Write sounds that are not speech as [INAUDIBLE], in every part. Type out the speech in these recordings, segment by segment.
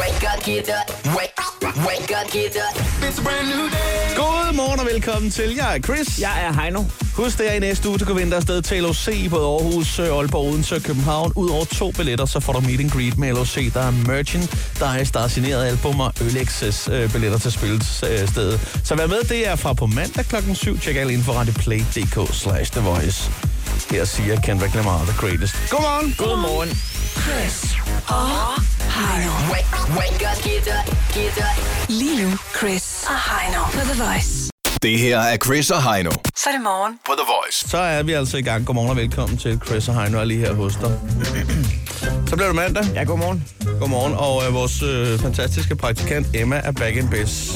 Wake up, get up. Wake, wake up, get up. It's a brand new day. God morgen og velkommen til. Jeg er Chris. Jeg er Heino. Husk, det er i næste uge, du kan vinde afsted til LOC i både Aarhus, øh, Aalborg, Odense og København. Udover to billetter, så får du meet and greet med LOC. Der er Merchant, der er et starsignerede album og Ølexes øh, billetter til spillestedet. Så vær med, det er fra på mandag klokken 7. Tjek alle info radioplay.dk slash The Voice. Her siger Kendrick Lamar, The Greatest. Godmorgen. Godmorgen. Chris og Heino. Wake, wake up, get up, get up. Lige nu, Chris og Heino på The Voice. Det her er Chris og Heino Så er det morgen. på The Voice. Så er vi altså i gang. Godmorgen og velkommen til Chris og Heino er lige her hos dig. Så bliver det mandag. Ja, godmorgen. Godmorgen, og øh, vores øh, fantastiske praktikant Emma er back in biz.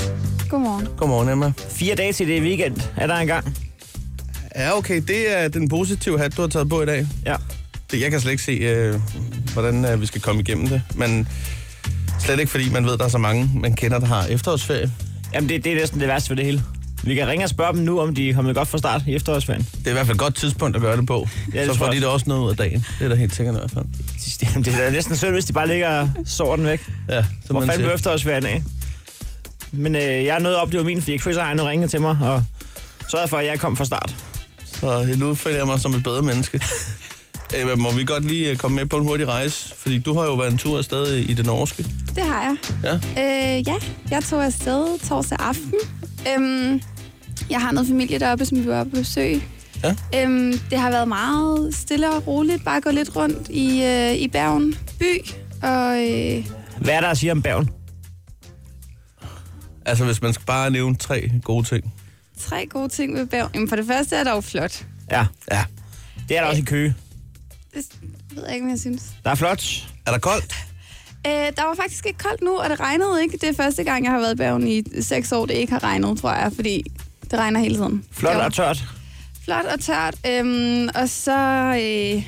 Godmorgen. Godmorgen, Emma. Fire dage til det er weekend. Er der engang? Ja, okay, det er den positive hat, du har taget på i dag. Ja. Det, jeg kan slet ikke se, øh, hvordan øh, vi skal komme igennem det. Men slet ikke, fordi man ved, der er så mange, man kender, der har efterårsferie. Jamen, det, det er næsten det værste ved det hele. Vi kan ringe og spørge dem nu, om de er kommet godt fra start i efterårsferien. Det er i hvert fald et godt tidspunkt at gøre det på. Ja, Ja, det det så tror får jeg de også. da også noget ud af dagen. Det er da helt sikkert i hvert fald. Jamen, det er da næsten synd, hvis de bare ligger og sover den væk. Ja, så Hvor man fanden blev siger, efterårsferien af? Men øh, jeg er nødt til at opleve min, fordi Chris og Heino ringede til mig og sørgede for, at jeg kom fra start. så øh, nu føler jeg mig som et bedre [LAUGHS] menneske. Emma, må vi godt lige øh, komme med på en hurtig rejse? Fordi du har jo været en tur afsted i i det norske. Det har jeg. Ja. Øh, ja, jeg tog afsted torsdag aften. Øhm, jeg har noget familie deroppe, som vi var på besøg. Ja. Øhm, det har været meget stille og roligt. Bare gå lidt rundt i, øh, i Bergen by. Og øh, Hvad er der at sige om Bergen? Altså, hvis man skal bare nævne tre gode ting. tre gode ting ved Bergen. Jamen, for det første er det jo flot. Ja, Ja. det er der også i Køge. Det ved jeg ikke, hvad jeg synes. Der er flot. Er der koldt? Øh, der var faktisk ikke koldt nu, og det regnede ikke. Det er første gang, jeg har været i Bergen i seks år, det ikke har regnet, tror jeg. Fordi det regner hele tiden. Flot Bergen. og tørt. flot og tørt. Øhm, og så øh,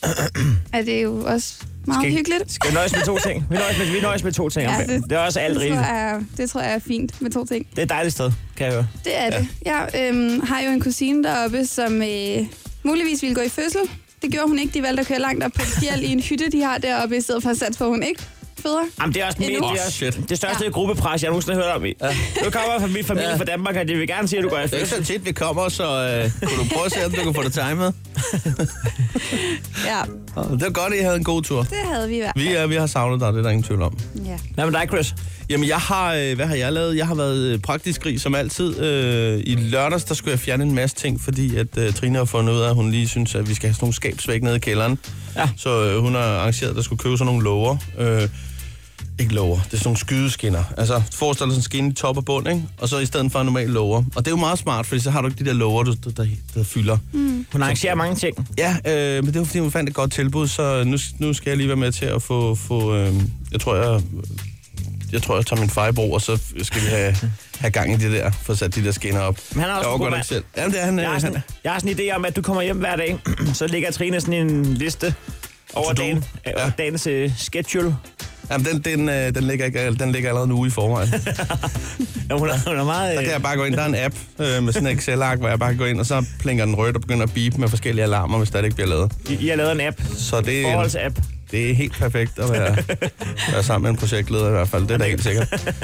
[CLEARS THROAT] er det jo også meget Skal- hyggeligt. Skal vi nøjes med to ting? Vi nøjes med, vi nøjes med to ting om Ja, Bergen. Det er også alt [LAUGHS] det, rigtigt. tror jeg, det tror jeg er fint med to ting. Det er et dejligt sted, kan jeg høre. Det er det. Jeg øhm, har jo en kusine deroppe, som øh, muligvis ville gå i fødsel. Det gjorde hun ikke. De valgte at køre langt op på et fjeld i en hytte, de har deroppe, i stedet for at satse på, at hun ikke føder. Jamen, det er også Endnu. med, det, er Åh, også, shit. det største ja. gruppepres, jeg nogensinde har hørt om. Ja. Nu kommer fra min familie Ja. ja. fra Danmark, og de vil gerne sige, at du går i Det er ikke fødsel. så tit, vi kommer, så øh, kunne du prøve at se, om du kunne få det [LAUGHS] timet? Ja, Det var godt, at I havde en god tur. det havde vi i hvert fald. Vi, øh, vi har savnet dig, det er der ingen tvivl om. Ja. Hvad med dig, Chris? Jamen, jeg har, øh, hvad har jeg lavet? Jeg har været øh, praktisk rig som altid. Øh, I lørdags, der skulle jeg fjerne en masse ting, fordi at øh, Trine har fundet ud af, at hun lige synes, at vi skal have sådan nogle skabsvæg nede i kælderen. Ja. Så øh, hun har arrangeret, at der skulle købe sådan nogle låger. Øh, ikke låger, det er sådan nogle skydeskinner. Altså, forestil dig sådan en skinne i top og bund, ikke? Og så i stedet for en normal låger. Og det er jo meget smart, fordi så har du ikke de der låger, du, der, der, der fylder. Hmm. Hun arrangerer mange ting. Ja, øh, men det var fordi, hun fandt et godt tilbud, så nu, nu skal jeg lige være med til at få... få øh, jeg tror, jeg... Jeg tror, jeg tager min fejbro, og så skal vi have, have gang i det der, for sat de der skinner op. Men han er også jeg en overgår god det mand. ikke selv. Jamen, det er han. Jeg øh, har, han sådan, er. jeg har sådan en idé om, at du kommer hjem hver dag, [CLEARS THROAT] så ligger Trine sådan en liste over To-do. dagen, Ja. ja. dagens uh, schedule. Jamen, den, den, øh, den, ligger ikke, den ligger allerede en uge i forvejen. Der [LAUGHS] Ja, hun, er, hun er meget... kan Øh, jeg bare gå ind. Der er en app øh, med sådan en Excel-ark, hvor jeg bare går ind, og så plinker den rødt og begynder at beepe med forskellige alarmer, hvis det ikke bliver lavet. I, I har lavet en app. Så det, Forholdsapp. Det er helt perfekt at [LAUGHS] være, være sammen med en projektleder i hvert fald. Det er da helt sikkert.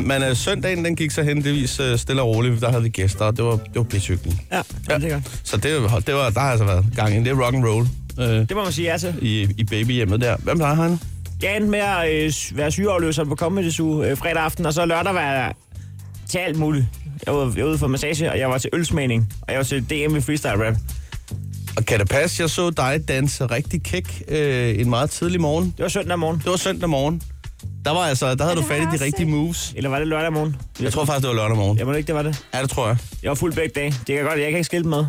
[CLEARS THROAT] Men øh, søndagen den gik så heldigvis øh, stille og roligt. Der havde vi gæster, og det var, det var pissehyggeligt. Ja, ja. det er godt. Så det, var- det var, der har altså været gang i den. Det er rock and roll øh, Det må man sige ja til. i, i babyhjemmet der. Hvem der han? Jeg endte med at øh, s- være sygeafløser på Comedy Zoo øh, fredag aften, og så lørdag var jeg til alt muligt. Jeg var, jeg var ude for massage, og jeg var til ølsmagning, og jeg var til DM i freestyle rap. Og kan det passe, jeg så dig danse rigtig kæk øh, en meget tidlig morgen. Det var søndag morgen. Det var søndag morgen. Der var altså, der havde Ja, det har du fat jeg i de også rigtige set. moves. Eller var det lørdag morgen? Jeg tror faktisk, det var lørdag morgen. Jeg må ikke, det var det. Ja, det tror jeg. Jeg var fuld begge dage. Det kan godt, jeg kan ikke skille dem med.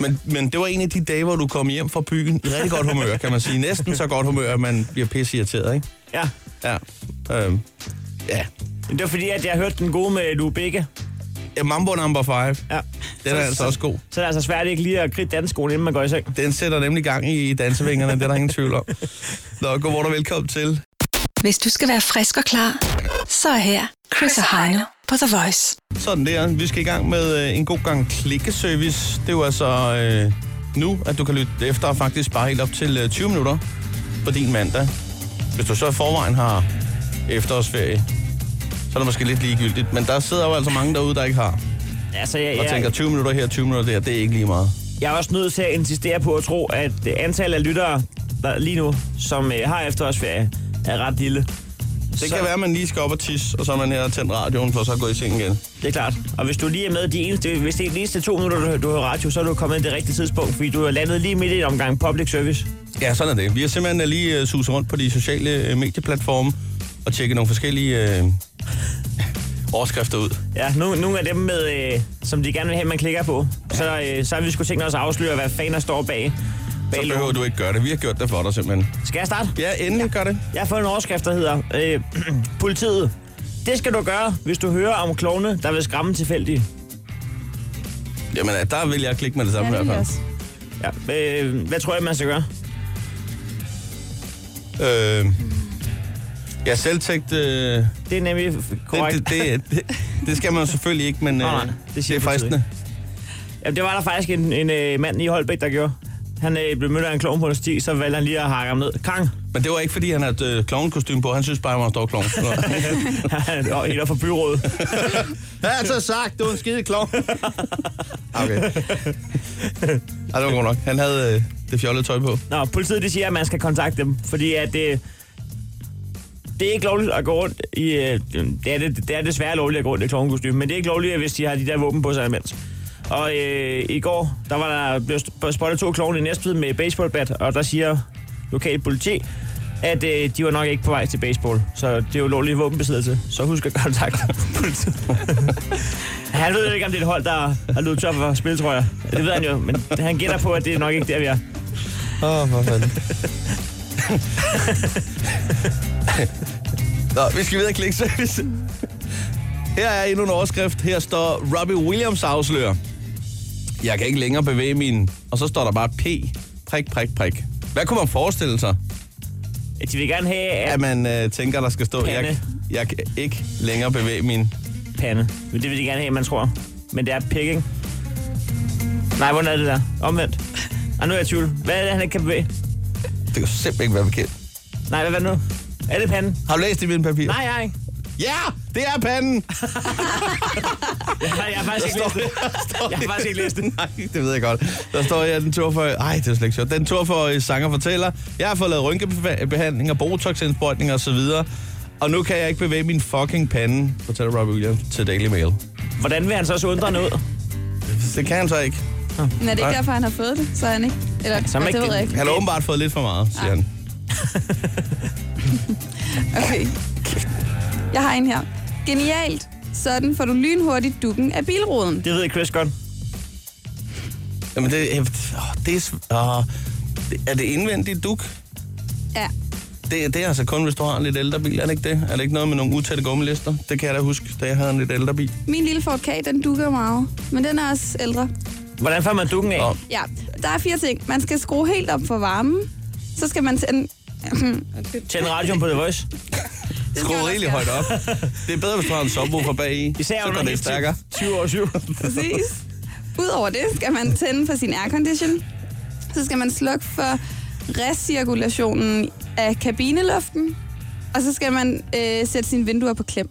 Men, men det var en af de dage, hvor du kom hjem fra byen i rigtig godt humør, kan man sige. Næsten så godt humør, at man bliver pisse irriteret, ikke? Ja. Ja. Øhm. Ja. Men det var fordi, at jeg hørte den gode med Lou Begge. ja. Mambo number 5. Ja. Den er altså også god. Så er det altså svært ikke lige at kridte danskolen, inden man går i seng. Den sætter nemlig gang i dansevingerne, det er der ingen tvivl [LAUGHS] om. Nå, godmorgen og velkommen til. Hvis du skal være frisk og klar, så er her Chris og Heino på The Voice. Sådan der. Vi skal i gang med øh, en god gang klikkeservice. Det er jo altså øh, nu, at du kan lytte efter faktisk bare helt op til øh, 20 minutter på din mandag. Hvis du så i forvejen har efterårsferie, så er det måske lidt ligegyldigt. Men der sidder jo altså mange derude, der ikke har. Altså, jeg, Og tænker, jeg, 20 minutter her, 20 minutter der, det er ikke lige meget. jeg er også nødt til at insistere på at tro, at øh, antallet af lyttere der lige nu, som øh, har efterårsferie, er ret lille. Det Så- så... kan være, at man lige skal op og tisse, og så er man her og tændt radioen, for så at gå i seng igen. Det er klart. Og hvis du lige er med de eneste, hvis det er de eneste to minutter, du, hø- du hører radio, så er du kommet ind det rigtige tidspunkt, fordi du er landet lige midt i en omgang public service. Ja, sådan er det. Vi har simpelthen øh, lige uh, suset rundt på de sociale uh, medieplatforme og tjekket nogle forskellige uh, [LAUGHS] overskrifter ud. Ja, nogle, nogle af dem, med, øh, som de gerne vil have, man klikker på. Så, øh, så har vi sgu tænkt os at afsløre, hvad fanden der står bag. bag Så logoen. behøver du ikke gøre det. Vi har gjort det for dig simpelthen. Skal jeg starte? Ja, endelig gør det. Jeg har fået en overskrift, der hedder øh, [CLEARS THROAT] Politiet. Det skal du gøre, hvis du hører om klovne, der vil skræmme tilfældigt. Jamen, øh, der vil jeg klikke med det Ja, samme det i vil jeg hvert også. Ja. Øh, hvad tror jeg, man skal gøre? fald. Øh, ja, selvtægt, øh, det, Det er nemlig f- korrekt. det, det, det, [LAUGHS] det skal man jo selvfølgelig ikke, men øh, Nej, nej, det det, siger det er politiet fristende. Jamen, det var der faktisk en, en øh, mand i Holbæk, der gjorde. Han øh, blev mødt af en klovn på en sti, så valgte han lige at hakke ham ned. Krang! Men det var [LAUGHS] ikke, fordi han havde øh, klovnkostyme på. Han synes bare, han var en [LAUGHS] stor klovn. Han var helt op for [LAUGHS] byrådet. Hvad har jeg så sagt? Du er en skide [LAUGHS] klovn. okay. Ej, det var godt nok. Han havde øh, det fjollede tøj på. Nå, politiet de siger, at man skal kontakte dem, fordi at det... Det er ikke lovligt at gå rundt i... øh, Det er, det, det er desværre lovligt at gå rundt i klovnkostyme, men det er ikke lovligt, hvis de har de der våben på sig imens. Og øh, i går, der var der blevet spottet to klovne i Næstved med baseballbat, og der siger lokal politi, at øh, de var nok ikke på vej til baseball. Så det er jo lovlig våbenbesiddelse. Så husk at kontakte [LAUGHS] politiet. han ved jo ikke, om det er et hold, der har løbet tør for spiltrøjer. Det ved han jo, men han gætter på, at det er nok ikke der, vi er. Åh, oh, for fanden. Nå, vi skal videre i klikservice. [LAUGHS] Her er endnu en overskrift. Her står Robbie Williams afslører. Jeg kan ikke længere bevæge min... Og så står der bare P. Prik, prik, prik. Hvad kunne man forestille sig, De vil gerne have at at man øh, tænker, der skal stå... Jeg, Pande. jeg kan ikke længere bevæge min... pande. Men det vil de gerne have, man tror. Men det er pik, ikke? Nej, hvordan er det der? Omvendt. Og nu er jeg i tvivl. Hvad er det, han ikke kan bevæge? Det kan simpelthen ikke være bekendt. Nej, hvad, hvad nu? Er det panden? Har du læst i mine papirer? Nej, jeg har ikke. Ja, det er [LAUGHS] panden. Nej, jeg har faktisk ikke læst det. Jeg har faktisk ikke læst det. [LAUGHS] Nej, det ved jeg godt. Der står jeg, den tur for... Ej, det er slet ikke sjovt. Den tur for øh, sanger fortæller, jeg har fået lavet rynkebehandling og botoxindsprøjtning og så videre. Og nu kan jeg ikke bevæge min fucking pande, fortæller Robbie Williams til Daily Mail. Hvordan vil han så også undre noget? Det kan han så ikke. Men er det ikke Nej. derfor, han har fået det? Så er han ikke? Eller, Så er man ja, det ikke- ved jeg ikke. Ah. Han har åbenbart fået lidt for meget, siger han. Okay. Jeg har en her. Genialt. Sådan får du lynhurtigt dukken af bilruden. Det ved Chris godt. Jamen, det, øh, åh, det er... sv- åh, det- er det indvendigt duk? Ja. Det, det er altså kun, hvis du har en lidt ældre bil, er det ikke det? Er det ikke noget med nogle utætte gummilister? Det kan jeg da huske, da jeg havde en lidt ældre bil. Min lille Ford K, den dukker meget. Men den er også ældre. Hvordan får man dukken af? Nå. Ja, der er fire ting. Man skal skrue helt op for varmen. Så skal man tænde... [CLEARS THROAT] Tænd radioen på The Voice. Det skal [LAUGHS] Skru man rigeligt også højt op. Det er bedre, hvis du har en [LAUGHS] subwoofer bag i. Især så under går det hele stærkere. 20 år 7. [LAUGHS] Præcis. Udover det skal man tænde for sin aircondition. Så skal man slukke for recirkulationen af kabineluften. Og så skal man øh, sætte sine vinduer på klem.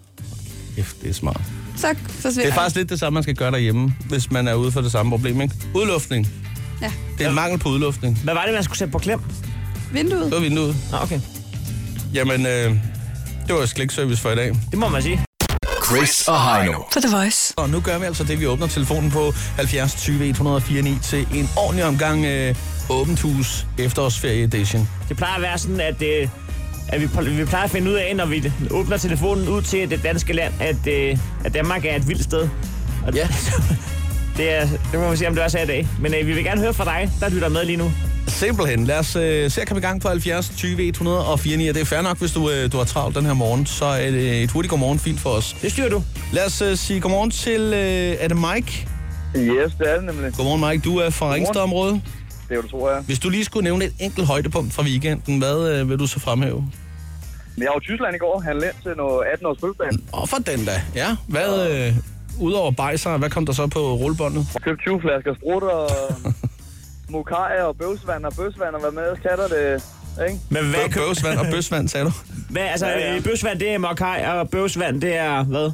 Kæft, det er smart. Så forsvinder Det er faktisk lidt det samme, man skal gøre derhjemme, hvis man er ude for det samme problem, ikke? Udluftning. Ja, Det er en mangel på udluftning. Hvad var det, man skulle sætte på klem? vinduet. Så er vinduet. Nå, okay. Jamen, øh, det var klikservice for i dag. Det må man sige. Chris og Heino. På The Voice. Og nu gør vi altså det, vi åbner telefonen på 70 20 104 9 til en ordentlig omgang øh, åbent hus efterårsferie edition. Det plejer at være sådan, at, øh, at vi, vi plejer at finde ud af, når vi åbner telefonen ud til det danske land, at, øh, at Danmark er et vildt sted. Og Ja. [LAUGHS] det, er, det må vi se, om det også er i dag. Men øh, vi vil gerne høre fra dig, der lytter med lige nu. Simpelthen. Lad os øh, se at komme i gang på 70 20 104 9. Det er fair nok, hvis du, øh, du har travlt den her morgen, så er det et hurtigt godmorgen fint for os. Det styrer du. Lad os øh, sige godmorgen til, øh, er det Mike? Yes, det er det nemlig. Godmorgen Mike, du er fra Ringsted-området. Det er jo, tror jeg. Hvis du lige skulle nævne et enkelt højdepunkt fra weekenden, hvad øh, vil du så fremhæve? Men jeg var i Tyskland i går. Han lærte til noget 18 års fødselsdag. Og for den da, ja. Hvad, øh, udover bajser, hvad kom der så på rullebåndet? Købte 20 flasker strut [LAUGHS] og mokaja og bøvsvand og bøsvand og hvad med ellers katter det. Ikke? Men hvad, [LAUGHS] Bøvsvand og bøsvand, sagde du? Hvad, altså, Ja, ja, ja. ja. bøsvand, det er mokai, og bøsvand, det er hvad?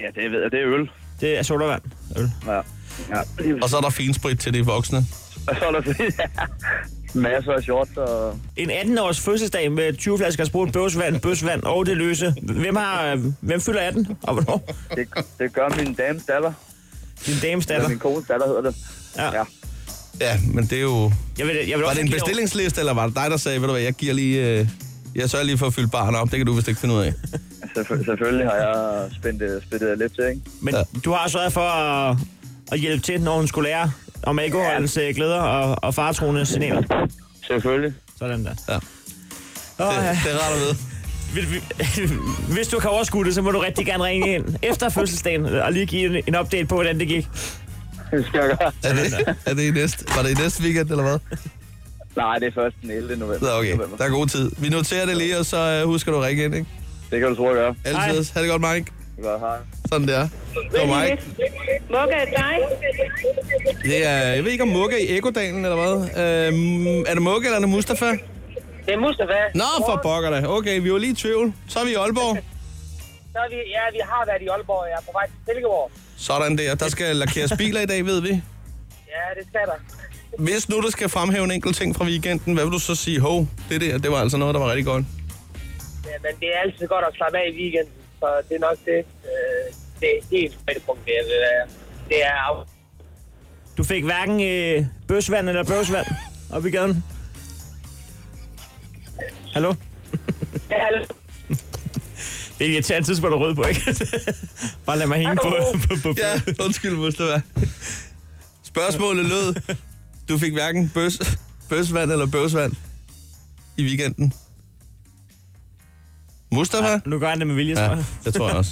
Ja, det ved jeg. Det er øl. Det er sodavand. Øl. Ja. ja. Og så er der finsprit til de voksne. Og så er der [LAUGHS] ja. masser af shorts og... En 18-års fødselsdag med 20 flasker sprut, bøsvand, bøsvand og det løse. Hvem, har, øh, hvem fylder 18, og hvornår? Det, det gør min dames datter. Din dames Eller datter. min kones datter hedder det. Ja. ja. Ja, men det er jo... Jeg vil, jeg vil Var også det en give dig- bestillingsliste, eller var det dig, der sagde, ved du hvad, jeg giver lige... Øh, jeg sørger lige for at fylde barnet op, det kan du vist ikke finde ud af. Selvfø- selvfølgelig har jeg spændt, øh, spændt lidt til, ikke? Men Ja. du har sørget for at, at hjælpe til, når hun skulle lære om alkoholens øh, glæder og, og faretroende signaler. Selvfølgelig. Sådan der. Ja. Åh, Det, ja. det er rart at vide. Vil- vil- [LAUGHS] Hvis du kan overskue det, så må du rigtig gerne ringe ind efter fødselsdagen og lige give en, en update på, hvordan det gik. Det skal jeg gøre. Er det, er det i næste, var det i næste weekend, eller hvad? Nej, det er først den 11. november. Nå, okay. Der er god tid. Vi noterer det lige, og så øh, husker du at ringe ind, ikke? Det kan du tro, jeg gør. Altid. Ha' det godt, Mike. Godt, hej. Sådan der. Det var Mike. Mokka er dig. Det er, jeg ved ikke om Mugge i Ekodalen, eller hvad? Øhm, er det Mugge, eller er det Mustafa? Det er Mustafa. Nå, for pokker da. Okay, vi var lige i tvivl. Så er vi i Aalborg. Så er vi, ja, vi har været i Aalborg, og jeg er på vej til Silkeborg. Sådan der. Der skal lakeres biler i dag, ved vi. Ja, det skal der. Hvis nu du skal fremhæve en enkelt ting fra weekenden, hvad vil du så sige? Hov, det der, det var altså noget, der var rigtig godt. Ja, men det er altid godt at slappe af i weekenden, så det er nok det. Øh, det er helt højdepunkt, det er, det er, det er af- Du fik hverken øh, bøsvand eller bøsvand op i gaden. Hallo? Ja, hallo. [LAUGHS] Det er et irriterende tidspunkt at røde på, ikke? [LAUGHS] Bare lad mig hænge på, på, på, på. Ja, undskyld, Mustafa. Spørgsmålet lød, du fik hverken bøs, bøsvand eller bøsvand i weekenden. Mustafa? Nu gør han det med vilje, tror Ja, jeg. det tror jeg også.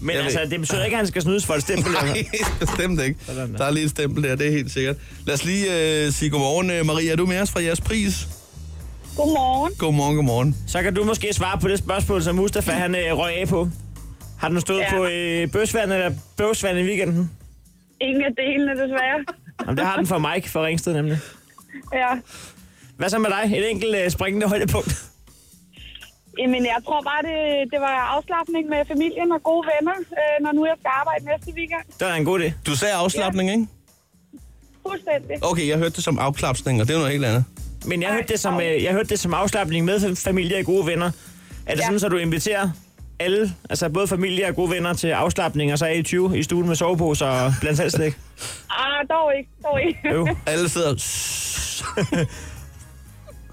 Men jeg altså, ved- det betyder ikke, at han skal snydes for et [LAUGHS] stempel. Nej, bestemt ikke. Sådan der. Der er lige et stempel der, det er helt sikkert. Lad os lige øh, sige godmorgen. Øh, Maria, er du med os fra jeres pris? Godmorgen. Godmorgen, godmorgen. Så kan du måske svare på det spørgsmål, som Mustafa han øh, røg af på. Har den stået ja. Ja. på øh, bøsvand eller bøsvand i weekenden? Ingen af delene, desværre. Jamen, det har den for Mike fra Ringsted nemlig. Ja. Hvad så med dig? Et enkelt øh, springende højdepunkt. Jamen, jeg tror bare, det, det var afslappning med familien og gode venner, øh, når nu jeg skal arbejde næste weekend. Det var en god idé. Du sagde afslappning, ikke? Fuldstændig. Okay, jeg hørte det som afklapsning, og det er jo noget helt andet. Men jeg hørte det som, øh, jeg hørte det som afslappning med familie og gode venner. Er det ja. Ja. sådan, at du inviterer alle, altså både familie og gode venner til afslappning, og så er I 20 i stuen med soveposer og blandt selv slik? [LAUGHS] Ah, dog ikke, dog ikke. Øv. Alle sidder... [LAUGHS]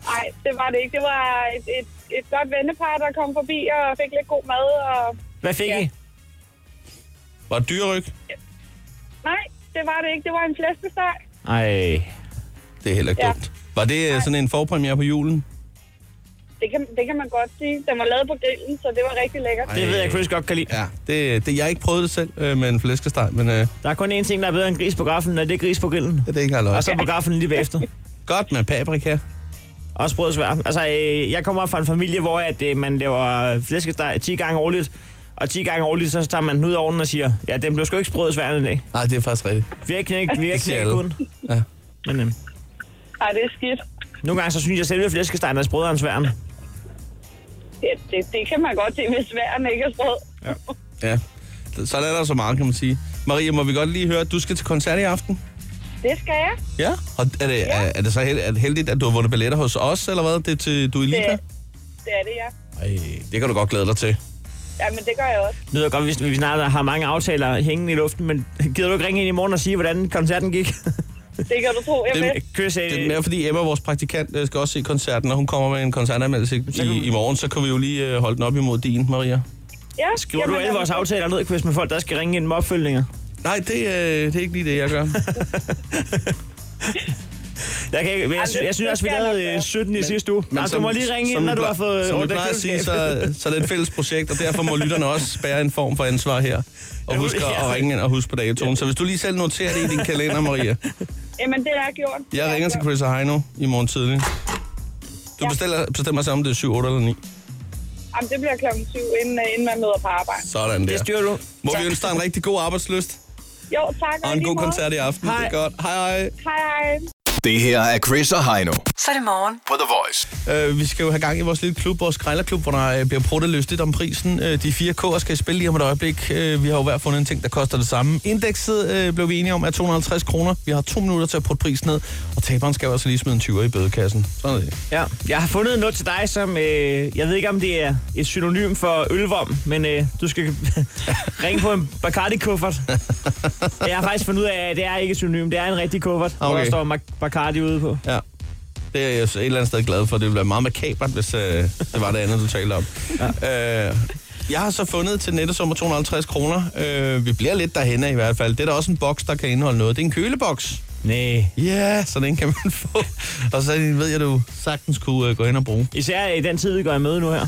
Nej, det var det ikke. Det var et, et, et godt vennepar, der kom forbi og fik lidt god mad. Og... Hvad fik ja. Ja. I? Var det dyreryg? Nej, det var det ikke. Det var en flæskesteg. Ej, Det er heller ikke Ja. dumt. Var det øh, sådan en forpremiere på julen? Det kan, det kan man godt sige. Den var lavet på grillen, så det var rigtig lækkert. det ved jeg, Chris godt kan lide. Ja, det, det, jeg har ikke prøvet det selv øh, med en flæskesteg, men øh, Der er kun én ting, der er bedre end gris på graffen, og det er gris på grillen. det er ikke halvøj. Og så på graffen lige bagefter. Godt med paprika. Og sprød svær. Altså, øh, jeg kommer fra en familie, hvor at, øh, man laver flæskesteg 10 gange årligt. Og 10 gange årligt, så tager man den ud af ovnen og siger, ja, den blev sgu ikke sprød svær i dag. Nej, det er faktisk rigtigt. Vi har ikke knækket, vi har ikke siger knækket alle. kun. Ja. Men øh, Ej, det er skidt. nogle gange, så synes jeg, at selve flæskestegen er sprødere end sværen. Det, det, det kan man godt se, hvis væren ikke er sprød. Ja. Sådan er der så meget, kan man sige. Maria, må vi godt lige høre, at du skal til koncert i aften? Det skal jeg. Ja. Og er det, er, er det så held, er det heldigt, at du har vundet billetter hos os, eller hvad? Det er til, du er Det, Elita? det er det, ja. Ej, det kan du godt glæde dig til. Jamen, det gør jeg også. Det lyder godt, hvis vi snart har mange aftaler hængende i luften, men gider du ikke ringe ind i morgen og sige, hvordan koncerten gik? Det kan du tro, jeg Det- vil. Chris, øh, Det er mere, fordi Emma, vores praktikant, øh, skal også se koncerten, og hun kommer med en koncertanmeldelse i, i morgen, så kan vi jo lige øh, holde den op imod din, Maria. Ja, skriver du jamen, altså- alle vores jamen, aftaler ned, Chris, med folk, der skal ringe ind med opfølgninger? Nej, det, øh, det er ikke lige det, jeg gør. [LAUGHS] Jeg, kan ikke, men jeg, Ej, sy- det- jeg synes det også, vi skal jeg lavede nok øh, gøre. 17 i sidste uge. Men, altså, du må lige ringe som ind, vi når du plejer- har fået Som vi ondt af plejer at sige, køleskabet. så, så er det et fælles projekt, og derfor må lytterne også bære en form for ansvar her. Og husk at at ringe ind og huske på datoen. Så hvis du lige selv noterer det i din kalender, Maria. Jamen, det er gjort. Det Jeg er ringer til gjort. Chris og Heino i morgen tidlig. Du Ja. bestiller, bestemmer selv, om det er 7, 8 eller 9. Jamen, det bliver klokken syv, inden, øh, inden man møder på arbejde. Sådan Det der. styrer du. Må vi ønske dig en rigtig god arbejdsløst Jo, tak. og en lige god måde. koncert i aften. Hej. Det er godt. Hej hej. Hej, hej. Det her er Chris og Heino Så er det morgen. på The Voice. Øh, vi skal jo have gang i vores lille klub, vores krejlerklub, hvor der øh, bliver pruttet lystigt om prisen. Øh, de fire K'er skal I spille lige om et øjeblik. Øh, vi har jo hver fundet en ting, der koster det samme. Indekset øh, blev vi enige om er 250 kroner. Vi har to minutter til at putte prisen ned, og taberen skal jo altså lige smide en 20'er i bødekassen. Sådan er det. Ja, jeg har fundet noget til dig, som... Øh, jeg ved ikke, om det er et synonym for ølvom, men øh, du skal [LAUGHS] ringe på en Bacardi-kuffert. jeg har faktisk fundet ud af, at det er ikke et synonym. Det er en rigtig kuffert, okay. hvor Okay. der står Mac- Bacardi ude på. Ja. Det er jeg et eller andet sted glad for. Det ville være meget makabert, hvis øh, det var det andet, du talte om. Ja. Øh, jeg har så fundet til nettesummer 250 kroner. Øh, vi bliver lidt derhenne i hvert fald. Det er da også en boks, der kan indeholde noget. Det er en køleboks. Nej. Ja, yeah, så den kan man få. Og så ved jeg, du sagtens kunne øh, gå ind og bruge. Især i den tid, vi går i møde nu her.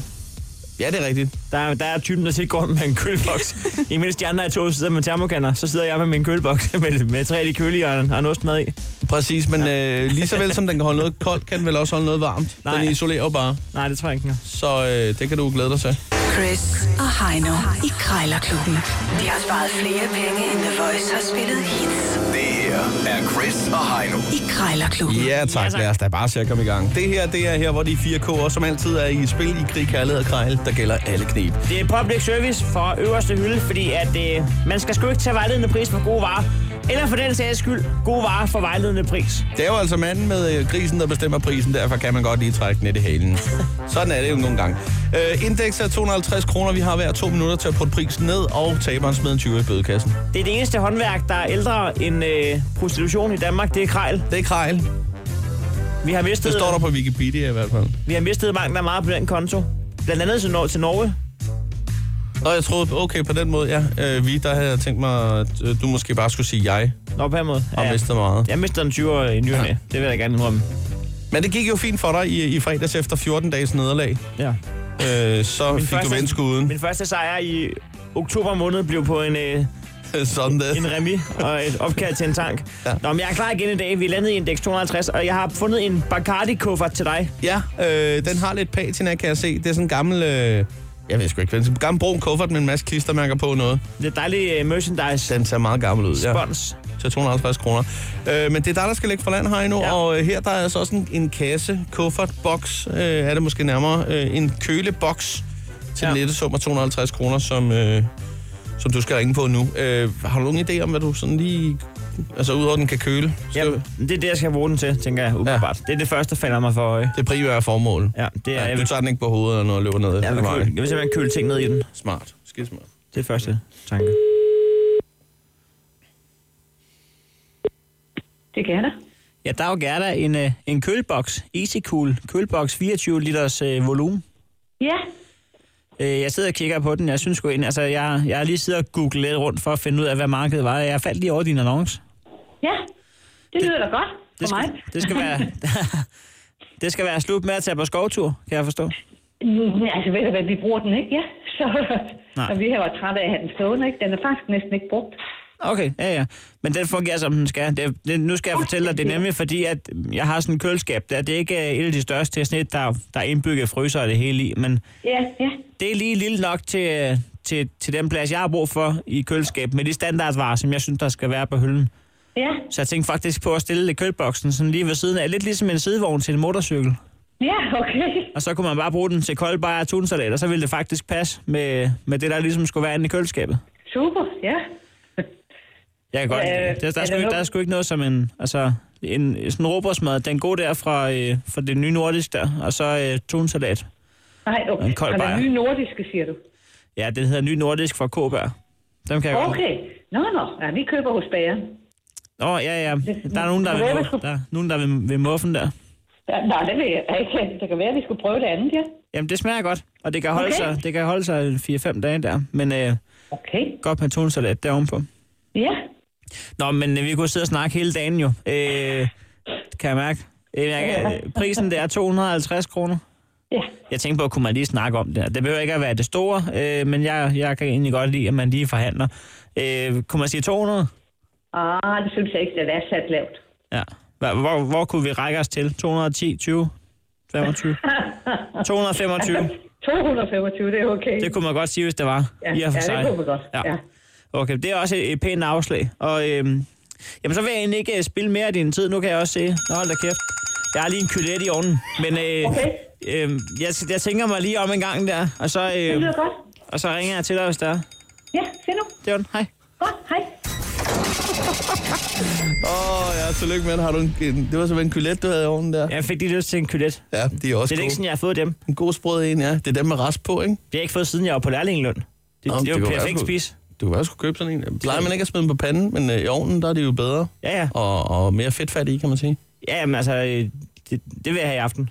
Ja, det er rigtigt. Der, er- der er typen, der tilgår med en køleboks. Imens de andre er to sidder med termokanner, så sidder jeg med min køleboks [LAUGHS] med, med tre af de kølehjørner og en ostmad i. Præcis, men øh, lige så vel som den kan holde noget koldt, kan den vel også holde noget varmt. Nej. Den isolerer jo bare, Nej, det tror jeg ikke. den er. så øh, det kan du glæde dig til. Chris og Heino i Krejlerklubben. De har sparet flere penge, end The Voice har spillet hits Det her er Chris og Heino. I Krejlerklubben. Ja tak, lad os da bare se at komme i gang. Det her, det er her, hvor de fire K'er som altid er i spil i krig, kærlighed og krejl, der gælder alle knep. [LAUGHS] Det er public service for øverste hylde, fordi at øh, man skal sgu ikke tage vejledende pris for gode varer. Eller for den sags skyld, gode varer for vejledende pris. Det er jo altså manden med øh, grisen, der bestemmer prisen, derfor kan man godt lige trække den lidt i halen. Sådan er det jo nogle gange. Øh, indeks er 250 kroner, vi har hver to minutter til at putte prisen ned, og taberen smider en 20 i bødekassen. Det er det eneste håndværk, der er ældre end øh, prostitution i Danmark, det er krejl. Det er krejl. Vi har mistet, Det står der på Wikipedia i hvert fald. vi har mistet mange der meget på den konto. Blandt andet til, Nor- til Norge. Nå, jeg troede, okay, på den måde, ja. Øh, vi, der havde jeg tænkt mig, at øh, du måske bare skulle sige jeg, Nå, på den måde. og ja. mistet meget. Jeg mistede en 20'er i ny og næ. Det vil jeg gerne indrømme. Men det gik jo fint for dig i, i fredags efter 14 dages nederlag. Ja. Øh, så fik du vendt skuden. Min første sejr i oktober måned blev på en, øh, [LAUGHS] Sådan det. en remi og et opkald til en tank. Ja. Ja. Nå, men jeg er klar igen i dag. Vi er landet i indeks 250, og jeg har fundet en Bacardi-kuffert til dig. Ja, øh, den har lidt patina, kan jeg se. Det er sådan en gammel... Øh, jeg ved sgu ikke, hvad det er. en gammel brun kuffert med en masse klistermærker på og noget. Det er dejlige øh, merchandise. Den ser meget gammel ud, ja. Spons. Til 250 kroner. Øh, men det er dig, der skal lægge for land her endnu, ja. Ja. og øh, her der er altså også en, en kasse, kuffert, boks, øh, er det måske nærmere, øh, en køleboks til ja. Ja. en lette sum af 250 kroner, som, øh, som du skal ringe på nu. Øh, har du nogen idé om, hvad du sådan lige... Altså, udover den kan køle, så Ja, Jamen. det er det, jeg skal bruge den til, tænker jeg umiddelbart. Ja. Det er det første, der falder mig for øje. det primære formål. Ja, det er... Ja, jeg du vil, tager den ikke på hovedet, når du løber ned. jeg, ad vil, køle, vejen. jeg vil simpelthen køle ting ned i den. Smart. Skidt smart. Det er første tanke. Det kan jeg da. Ja, der er jo gerne en, øh, en køleboks. Easy Cool. Køleboks 24 liters øh, volumen. Ja, Øh, jeg sidder og kigger på den. Jeg synes sgu ind. Altså, jeg, jeg har lige siddet og googlet lidt rundt for at finde ud af, hvad markedet var. Jeg faldt lige over din annonce. ja. Det lyder da godt for Det skal, mig. det skal være... [LAUGHS] det skal være slut med at tage på skovtur, kan jeg forstå. Mm, altså ved du hvad, vi bruger den ikke, ja. [LAUGHS] Så Nej. og vi har været trætte af at have den stående, ikke? Den er faktisk næsten ikke brugt. Okay, ja, ja. Men den fungerer, som den skal. Det, det, nu skal jeg fortælle dig, det er nemlig fordi, at jeg har sådan en køleskab der. Det er ikke øh, et af de største til snit, der, der er indbygget fryser og det hele i, men Ja, ja. det er lige lille nok til, øh, til, til den plads, jeg har brug for i køleskab, med de standardvarer, som jeg synes, der skal være på hylden. Ja, Så jeg tænkte faktisk på at stille kølboksen sådan lige ved siden af. Lidt ligesom en sidevogn til en motorcykel. ja, okay. Og så kunne man bare bruge den til kold bajer og tunsalat, og så ville det faktisk passe med, med det, der ligesom skulle være inde i køleskabet. Super, ja. Jeg kan godt Øh, øh, der, der, er er sgu, der ikke- der er noget- sgu ikke noget som en... Altså, en, sådan en råbrødsmad, den gode der fra, øh, fra det nye nordisk der, og så øh, tunsalat. Nej, okay. En kold Har bajer. der nye nordiske, siger du? Ja, det hedder ny nordisk fra Kåbær. Dem kan jeg godt lide. Okay. Nå, nå. Ja, vi køber hos bageren. Nå, ja, ja. Der er nogen, der Det- vil, der, er nogen, der vil, vil muffen der. Ja, nej, det ved jeg ikke. Det kan være, at vi skulle prøve det andet, ja. Jamen, det smager godt, og det kan holde Okay. sig, det kan holde sig 4-5 dage der. Men øh, Okay. godt med tunsalat der ovenpå. Ja. Nå, men øh, vi kunne sidde og snakke hele dagen jo. Øh, kan jeg mærke. Øh, jeg, kan- prisen det er 250 kroner. Ja. Jeg tænkte på, kunne man lige snakke om det her. Det behøver ikke at være det store, øh, men jeg, jeg kan egentlig godt lide, at man lige forhandler. Øh, kunne man sige 200? Ah, det synes jeg ikke, det er sat lavt. [LAUGHS] Ja. Hvor, hvor, hvor kunne vi række os til? 210, 20, 25? [LAUGHS] 225. 225, det er okay. Det kunne man godt sige, hvis det var. ja, i og for ja, sig. det kunne vi godt. Ja. Ja. Okay, det er også et, et pænt afslag. Og øhm, Jamen, så vil jeg egentlig ikke øh, spille mere af din tid. Nu kan jeg også se. Nå, hold da kæft. Jeg har lige en kylet i ovnen. Men øh, Okay. øh, jeg, jeg tænker mig lige om en gang der, og så, Det øh, lyder godt. og så ringer jeg til dig, hvis der er. Ja, se nu. Det var den. Hej. Godt, hej. Åh, oh, ja, tillykke med det. Har du en, en, det var simpelthen en kylet, du havde i ovnen der. Jeg fik lige lyst til en kylet. Ja, de er også Det er gode. ikke sådan, jeg har fået dem. Det En god sprød en, ja. Det er dem med rest på, ikke? har jeg ikke fået, siden jeg var på lærlingeløn. Det, Nå, Nå, det, det er jo kunne være, perfekt du- spis. Du kan være, at skulle købe sådan en. Plejer man ikke at smide dem på panden, men øh, i ovnen, der er det jo bedre. Ja, ja. Og, og mere fedtfat i, kan man sige. Ja, jamen, altså, øh, det, det vil jeg have i aften.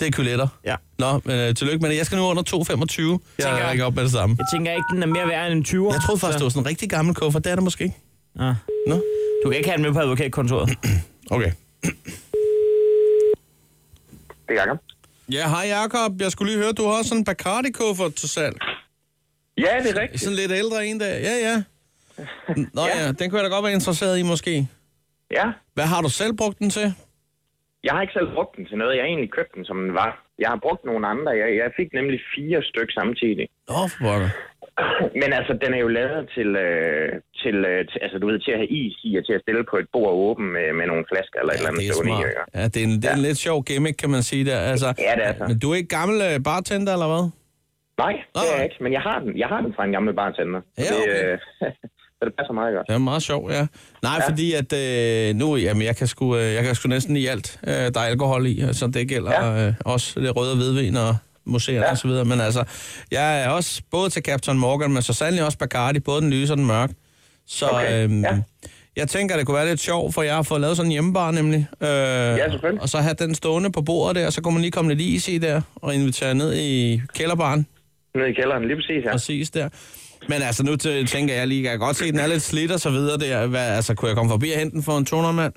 Det er kyletter. Ja. Nå, men øh, tillykke med det. Jeg skal nu under 2,25. Jeg rækker op med det samme. Jeg tænker ikke, den er mere værd end en 20'er. Jeg troede faktisk, det var sådan en rigtig gammel kuffert. Det er det måske ikke. Ja. Nå, Du kan ikke have den med på [COUGHS] advokatkontoret. okay. Det er Jacob. Ja, hej Jakob. Jeg skulle lige høre, du har sådan en Bacardi-kuffert til salg. Ja, det er rigtigt. Sådan lidt ældre en dag. Ja, ja. Nå ja. ja, den kunne jeg da godt være interesseret i måske. Ja. Hvad har du selv brugt den til? Jeg har ikke selv brugt den til noget. Jeg har egentlig købt den, som den var. Jeg har brugt nogle andre. Jeg, jeg fik nemlig fire stykker samtidig. [CLEARS THROAT] Nå, for pokker. Men altså, den er jo lavet til, øh, til, øh, til, altså, du ved, til at have is i og til at stille på et bord åben med, med nogle flasker eller et eller andet det er stående i. smart. ikke? Ja, det er en, det er en lidt sjov gimmick, kan man sige der. Altså, Ja, det er så. Men du er ikke gammel øh, bartender, eller hvad? Nej, det er Nej. jeg ikke. Men jeg har den. Jeg har den fra en gammel bartender. Ja, Så det, okay. øh, [LAUGHS] så det passer meget godt. Det er meget sjovt, ja. Nej, ja. fordi at øh, nu, jamen, jeg kan sgu, øh, jeg kan sgu næsten i alt, øh, der er alkohol i, så det gælder ja. øh, også det røde og hvidvin og museerne ja. og så videre. Men altså, jeg er også både til Captain Morgan, men så sandelig også Bacardi, både den lyse og den mørke. Så okay. Okay, øhm, ja. ja. jeg tænker, det kunne være lidt sjovt, for jeg har fået lavet sådan en hjemmebar nemlig. Øh, ja, selvfølgelig. Og så have den stående på bordet der, så kunne man lige komme lidt is i der, og invitere ned i kælderbaren. Nede i kælderen, lige præcis her. Præcis der. Men altså, nu tæ- tænker jeg lige, jeg kan godt se, at den er lidt slidt og så videre der. Hvad, altså, kunne jeg komme forbi og hente den for en toner, mand?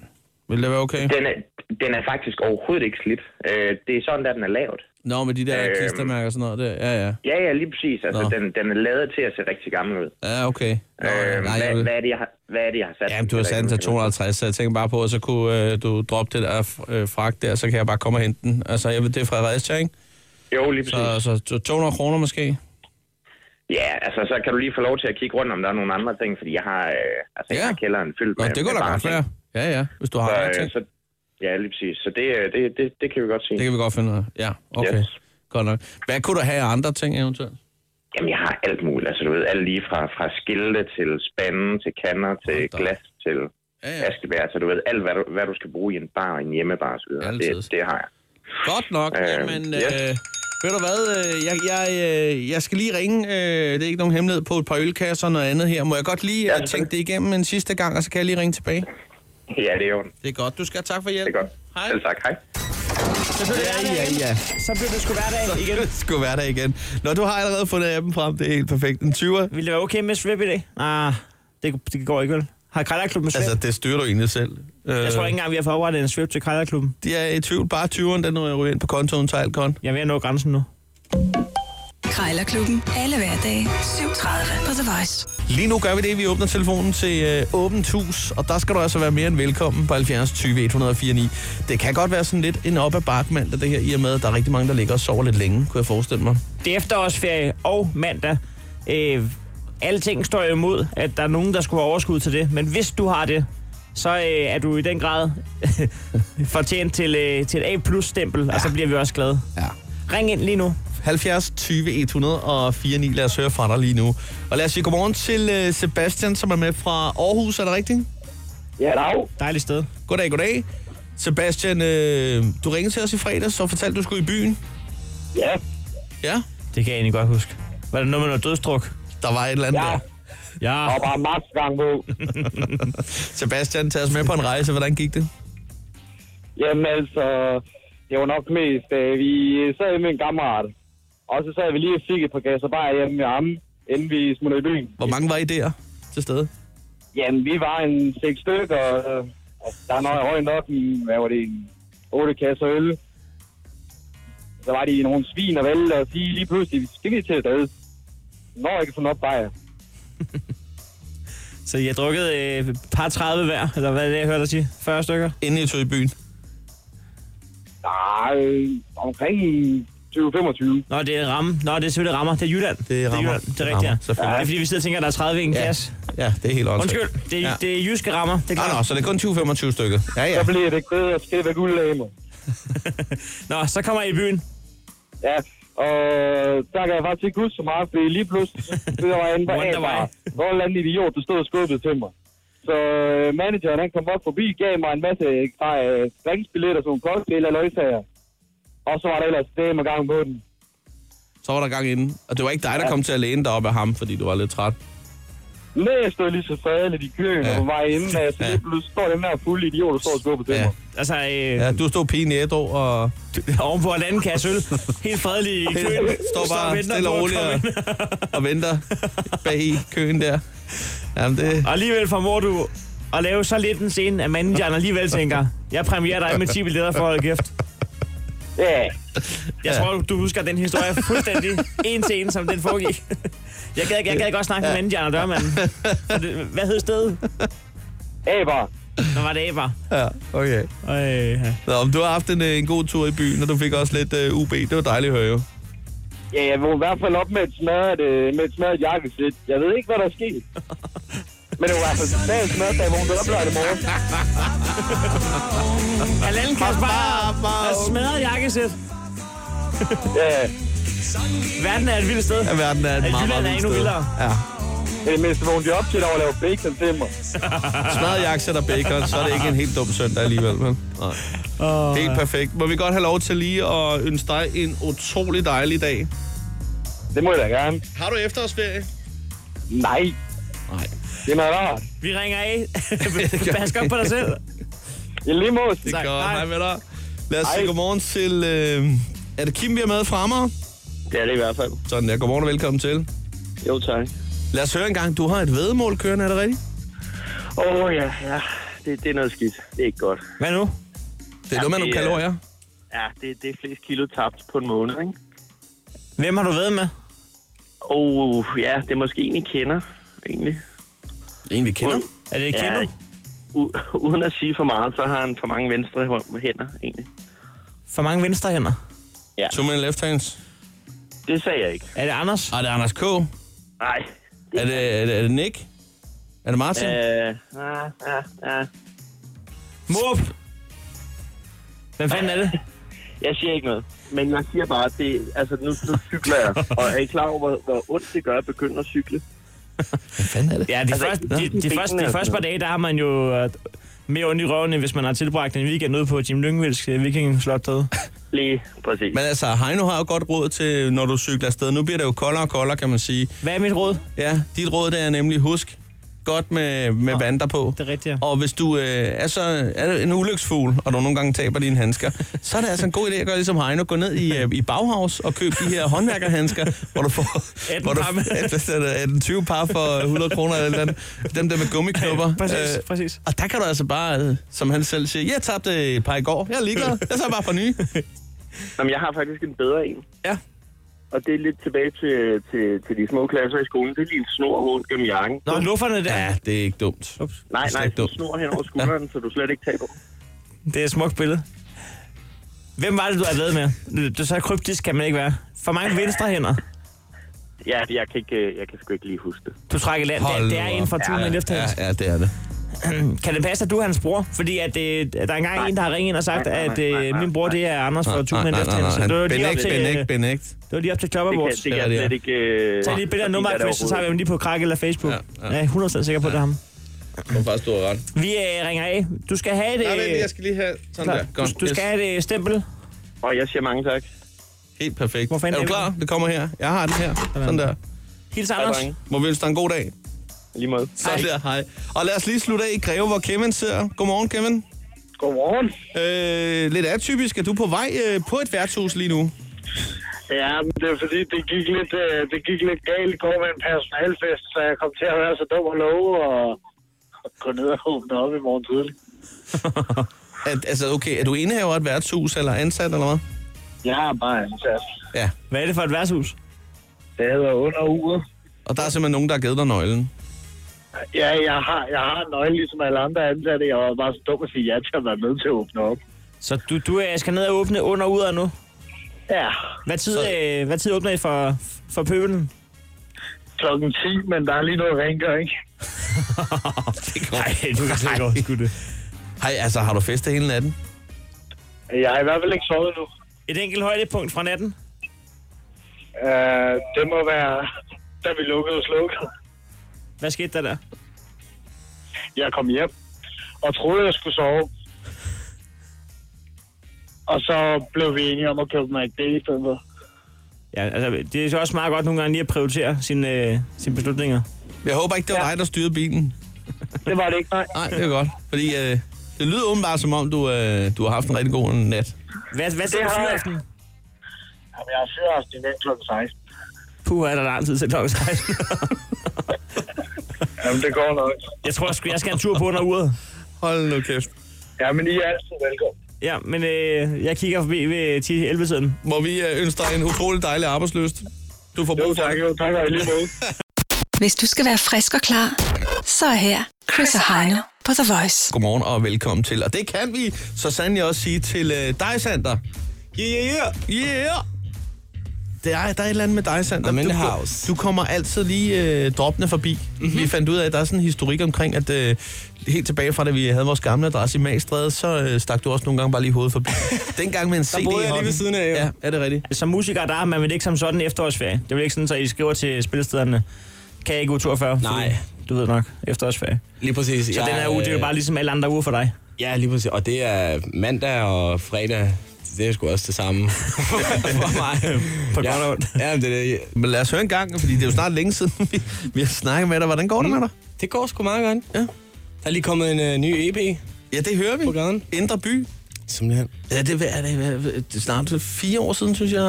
Vil det være okay? Den er, den er faktisk overhovedet ikke slidt. Øh, det er sådan, at den er lavet. Nå, med de der Øhm. klistermærker og sådan noget der. Ja, ja. Ja, ja, lige præcis. Altså, Nå. den, den er lavet til at se rigtig gammel ud. Ja, okay. Nå, Øh, nej, jeg hvad, vil... hvad, er det, jeg har, hvad er det, jeg har sat? Jamen, den du har sat den til derinde? 250, så jeg tænker bare på, at så kunne øh, du droppe det der øh, fragt der, så kan jeg bare komme og hente den. Altså, jeg ved, det er Fredericia, ikke? Jo, lige præcis. Så, Så... så, så 200 kroner måske? Ja, altså, så kan du lige få lov til at kigge rundt, om der er nogle andre ting, fordi jeg har, øh, altså, jeg Ja. har kælderen fyldt Nå, med det kunne med da godt barting. være. Ja, ja, hvis du har andre Så, ting. øh, så, ja, lige præcis. Så det, øh, det, det, det kan vi godt se. Det kan vi godt finde ud af. Ja, okay. Yes. Godt nok. Hvad kunne du have af andre ting eventuelt? Jamen, jeg har alt muligt. Altså, du ved, alt lige fra, fra skilte til spande, til kander, til Hold da op. glas, til Ja, ja. askebær. Så du ved, alt, hvad du, hvad du skal bruge i en bar og en hjemmebar osv. Altid. Det, det har jeg. [LAUGHS] Godt nok. Øh, Jamen, øh, yes. ved du hvad, øh, jeg, jeg, øh, jeg skal lige ringe, øh, det er ikke nogen hemmelighed, på et par ølkasser og noget andet her. Må jeg godt lige Ja, øh, tænke selvfølgelig. det igennem en sidste gang, og så kan jeg lige ringe tilbage? Ja, det er jo det Det er godt. Du skal have tak for hjælp. er godt. Hej. Selv tak. Hej. Så blev det hverdag Ja, igen. ja, ja. Så blev det sgu hverdag igen. Det skulle være der igen. Nå, du har allerede fundet appen frem. Det er helt perfekt. En 20'er. Vil det være okay med Svip i dag? Nej, det, det går ikke vel. Har Krejlerklubben med Svip? Altså, Altså, det styrer du egentlig selv. øh, jeg tror ikke engang, vi har fået oprettet en Svip til Krejlerklubben. De er i tvivl. Bare 20'eren, den ryger ind på kontoen til Alcon. Jeg er ved at nå grænsen nu. Krejlerklubben. Alle hverdage. 7.30 på The Voice. Lige nu gør vi det, vi åbner telefonen til øh, åbent hus, og der skal du altså være mere end velkommen på 70 20 149. Det kan godt være sådan lidt en op ad bakke mandag, det her, i og med, at der er rigtig mange, der ligger og sover lidt længe, kunne jeg forestille mig. Det er efterårsferie og mandag. Øh, alting står jo imod, at der er nogen, der skulle have overskud til det. Men hvis du har det, så øh, er du i den grad [LAUGHS] fortjent til, øh, til et A-plus-stempel, ja. og så bliver vi også glade. Ja. Ring ind lige nu. 70 20 149, lad os høre fra dig lige nu. Og lad os sige godmorgen til øh, Sebastian, som er med fra Aarhus, er det rigtigt? Ja, dag. Dejligt sted. Goddag, goddag. Sebastian, øh, du ringede til os i fredags og fortalte, du skulle i byen. Ja, Ja, Det kan jeg egentlig godt huske. Var det noget med noget dødstruk? der var et eller andet ja. Ja. der. Ja. og bare max gang på. [LAUGHS] Sebastian, tag os med på en rejse. Hvordan gik det? Jamen altså, det var nok mest, øh, vi sad med en kammerat. Og så sad vi lige og fik et par gasser bare hjemme med ham, inden vi smuttede i byen. Hvor mange var I der til stede? Jamen, vi var en seks stykker, og øh, altså, der er nok højt nok, i, hvad var det, en otte kasser øl. Så var de nogle svin og vælte, og sige lige pludselig, skal vi til at døde? Når jeg kan få nok bajer. Så jeg har drukket øh, par 30 hver, eller hvad er det, jeg hørte dig sige? 40 stykker? Inden I tog i byen? Nej, øh, omkring 20-25 20-25. Nå, det er ramme. Nå, det er selvfølgelig rammer. Det er Jylland. Det er rammer. Jylland. Det er Det er rigtigt, ja. rammer, selvfølgelig. Det er fordi, vi sidder og tænker, at der er 30 i en Ja, kasse. ja det er helt åndssvagt. Undskyld, det er, ja. det er jyske rammer. Det er Ah, Nå, nå, klart. så det er kun 20-25 stykker. Ja, ja. Så bliver det ikke bedre at skæve guld af mig. [LAUGHS] Nå, så kommer I i byen. Ja, og der kan jeg faktisk ikke huske så meget, fordi lige [LAUGHS] pludselig så var jeg inde på Wonderway. A-bar. Der var en eller anden idiot, der stod og skubbede til mig. Så øh, manageren han kom op forbi, gav mig en masse øh, dringsbilletter, sådan nogle cocktail og løgsager. Og så var der ellers dame gang på den. Så var der gang inden. Og det var ikke dig, der kom til at læne dig op af ham, fordi du var lidt træt. Nej, jeg stod lige så fredeligt i køen Ja. ja. på vej inden, så Ja. lige pludselig står den der fulde idiot, der står og skubber til Ja. mig. Altså, øh, Ja, ja. du stod pigen ædru og ovenpå en anden kasse øl. Helt fredelig i køen. [LAUGHS] står og bare venter stille på og at roligt komme og, ind. og venter bag i køen der. Jamen, det, Og alligevel formår du at lave så lidt en scene, at manageren alligevel tænker, jeg præmierer dig med 10 billetter for at holde kæft. Ja, Jeg Ja. tror, du husker den historie fuldstændig. En scene, som den foregik. Jeg gad, jeg gad godt snakke med manageren og dørmanden. For det- Hvad hed stedet? A-bar. Når var det aber? ja, okay. Øh, ja. Nå, men du har haft en, øh, en god tur i byen, og du fik også lidt øh, UB. Det var dejligt at høre [LAUGHS] jo. Ja, jeg vågnede i hvert fald op med et smadret, øh, med et smadret jakkesæt. Jeg ved ikke, hvad der er [LAUGHS] sket. Men det var i hvert fald totalt smadret, da jeg vågnede op lørdag morgen. Halvanden kasse bare og smadret jakkesæt. Ja, Verden er et vildt sted. Ja, verden er et Ja, meget, meget Jylland er vildt endnu sted. vildere. Ja. i det mindste vågnede jeg op til, at der var lavet bacon til mig. [LAUGHS] Smadret jakkesæt og bacon, så er det ikke en helt dum søndag alligevel. Men. Nej. Helt perfekt. Må vi godt have lov til lige at ønske dig en utrolig dejlig dag. Det må jeg da gerne. Har du efterårsferie? Nej, Nej. det er noget rart. Vi ringer [LAUGHS] af. Pas godt på dig [LAUGHS] selv. I lige måde. Det er Tak. godt. Hej. Hej med dig. Lad os sige Hej. godmorgen til... Øh, er det Kim, vi har med fra Amager? Det er det i hvert fald. Sådan der. Godmorgen og velkommen til. Jo, tak. Lad os høre en gang. Du har et vedmål kørende, er det rigtigt? Åh oh, ja, ja. Det, det er noget skidt. Det er ikke godt. Hvad nu? Det er noget med nogle det er- kalorier. Ja, det, det er flest kilo tabt på en måned, ikke? Hvem har du været med? Åh, oh, ja, det er måske en, I kender, egentlig. En, vi kender. Er det Kendo? Ja. U- uden at sige for meget, så har han for mange venstre hånd- hænder, egentlig. For mange venstre hænder. Two men left hands. Ah, Det sagde jeg ikke. Er det Anders? Er det er Anders K? Nej. Er det, er det, er det Nick? Er det Martin? Øh, ah. ja, ja, ja. Morp! Hvem fanden er det? [LAUGHS] Jeg siger ikke noget. Men jeg siger bare, at det, altså, nu, nu cykler [LAUGHS] jeg. Og er I klar over, hvor, hvor ondt det gør at begynde at cykle? Hvad fanden er det? Ja, de, Altså, første, nå. de, de, første, de første par dage, der har man jo øh, mere ondt i røven, end hvis man har tilbragt en weekend ude på Jim Lyngvilds øh, vikingslot derude. Lige præcis. Men altså, Heino har jo godt råd til, når du cykler afsted. Nu bliver det jo koldere og koldere, kan man sige. Hvad er mit råd? Ja, dit råd det er nemlig, husk godt med, med ja, vandter på. det er rigtigt, ja. Og hvis du øh, er, så, er du en ulyksfugl, og du nogle gange taber dine handsker, så er det altså en god idé at gøre ligesom Heino. Gå ned i, øh, i Bauhaus og køb de her håndværkerhandsker, hvor du får... 18 hvor du, [LAUGHS] par med. 18, 20 par for 100 kroner eller et eller andet. Dem der med gummiknopper. [LAUGHS] Ja, præcis, præcis. Og der kan du altså bare, øh, som han selv siger, jeg tabte et par i går. Jeg er ligeglad. Jeg tager bare for nye. [LAUGHS] Jamen, jeg har faktisk en bedre en. Ja. Og det er lidt tilbage til, til, til de små klasser i skolen. Det er lige en snor rundt gennem jakken. Nå, lufferne der. Ja. Ja, det er ikke dumt. Ups. Nej, det er nej, ikke du dumt. snor hen over skulderen, ja. så du slet ikke taber. Det er et smukt billede. Hvem var det, du har været med? Det er så kryptisk kan man ikke være. For mange venstre hænder. Ja, jeg kan, ikke, øh, jeg kan sgu ikke lige huske det. Du trækker land. Det, det er Hold en fra op. Tunen ja, Left Ja, Hands. ja, det er det. Kan det passe, at du er hans bror? Fordi at, øh, der er engang nej. en, der har ringet ind og sagt, Nej, nej, nej, at øh, nej, nej, min bror, nej. det er Anders fra Nej, Tunen nej, Left nej, Hands. nej. Det var lige op Benægt, til, øh, benægt, benægt. det var lige op til Chopper Det kan, Awards. det Ja, kan jeg det er. slet ikke... Øh, Tag lige et billede af fordi der er nummeret, det Chris, så tager vi overhovedet. dem lige på Krak eller Facebook. Ja, ja. Jeg er 100% sikker på, det er ham. Jeg tror faktisk, du har ret. Vi øh, ringer af. Du skal have et... Nej, vent, Øh, jeg skal lige have sådan klar. der. Godt. du, du skal Yes. have et øh, stempel. Og jeg siger mange tak. Helt perfekt. Hvor fanden Er du er klar? Det kommer her. Jeg har den her. Sådan der. Hils Anders. drenge. Må vi ønske dig en god dag. Lige måde. Sådan der, hej. Og lad os lige slutte af i Greve, hvor Kevin sidder. Godmorgen, Kevin. Godmorgen. Øh, lidt atypisk. Er du på vej øh, på et værtshus lige nu? Ja, men det er fordi, det gik lidt, øh, det gik lidt galt i går med en personalfest, så jeg kom til at være så dum og love og, og gå ned og åbne op i morgen tidlig. At, altså, okay, er du indehaver af et værtshus eller ansat eller hvad? Jeg har bare ansat. Ja. Hvad er det for et værtshus? Det hedder under uret. Og der er simpelthen nogen, der har givet dig nøglen. Ja, jeg har, jeg har en nøgle, ligesom alle andre ansatte. Jeg var bare så dum at sige ja til at være med til at åbne op. Så du, du øh, skal ned og åbne under og ud af nu. Ja, Hvad tid, øh, hvad tid åbner I for, for pøbelen? klokken 10, men der er lige noget [LAUGHS] rengøring. Nej, du kan slet ikke overskue det. Hej, altså har du festet hele natten? Jeg har i hvert fald ikke sovet nu. Et enkelt højdepunkt fra natten? øh, Uh, det må være, da vi lukkede og slukkede. Hvad skete der der? Jeg kom hjem og troede, jeg skulle sove. Og så blev vi enige om at købe McD i stedet for. Ja, altså, det er så også meget godt nogle gange lige at prioritere sine, øh, sine beslutninger. Jeg håber ikke, det var ja. dig, der styrede bilen. Det var det ikke, nej. Nej, det er godt. Fordi øh, det lyder åbenbart, som om du, øh, du har haft en rigtig god nat. Hvad, hvad så Det du har jeg. fyraften? Jamen, jeg har fyraften i den klokken 16. Puh, er der lang tid til klokken 16. [LAUGHS] Jamen, det går nok. jeg tror, jeg skal, jeg skal en tur på under uret. Hold nu kæft. Jamen, I er altid velkommen. Ja, men øh, jeg kigger forbi ved 10-11-tiden. Må vi øh, ønske dig en utrolig dejlig arbejdsløst. Du får Jo, brug for tak. det. Jo, tak og i lige måde. Hvis du skal være frisk og klar, så er her Chris og Heino på The Voice. Godmorgen og velkommen til. Og det kan vi så sandelig også sige til øh, dig, Sander. Yeah, yeah. Det er, der er et eller andet med dig, Sander. I'm in du, the house. Mhm. Du kommer altid lige øh, droppende forbi. Mm-hmm. Vi fandt ud af, at der er sådan en historik omkring, at øh, helt tilbage fra, da vi havde vores gamle adresse i Magstræde, så øh, stak du også nogle gange bare lige hovedet [LAUGHS] forbi. Dengang med en CD Der i boede jeg lige hånden. ved siden af. Ja, er det rigtigt? Som musiker, der har man vel ikke som sådan efterårsferie. Det er vel ikke sådan, så I skriver til spillestederne, kan jeg ikke uge 42? Nej. Fordi, du ved nok, efterårsferie. Lige præcis. Så den her uge, øh, det er jo bare ligesom alle andre uger for dig. Ja, lige præcis. Og det er mandag og fredag. Det er sgu også det [LAUGHS] samme for mig. På ja, godt og ondt. Ja, men det, er det. Men lad os høre en gang, fordi det er jo snart længe siden, [LAUGHS] vi, vi har snakket med dig. Hvordan går det med dig? det går sgu meget godt. Ja. Der er lige kommet en øh, ny EP Ja, det hører vi. på gaden. Indre by. Mm, Simpelthen. Ja, det er, det, er, det er snart fire år siden, synes jeg.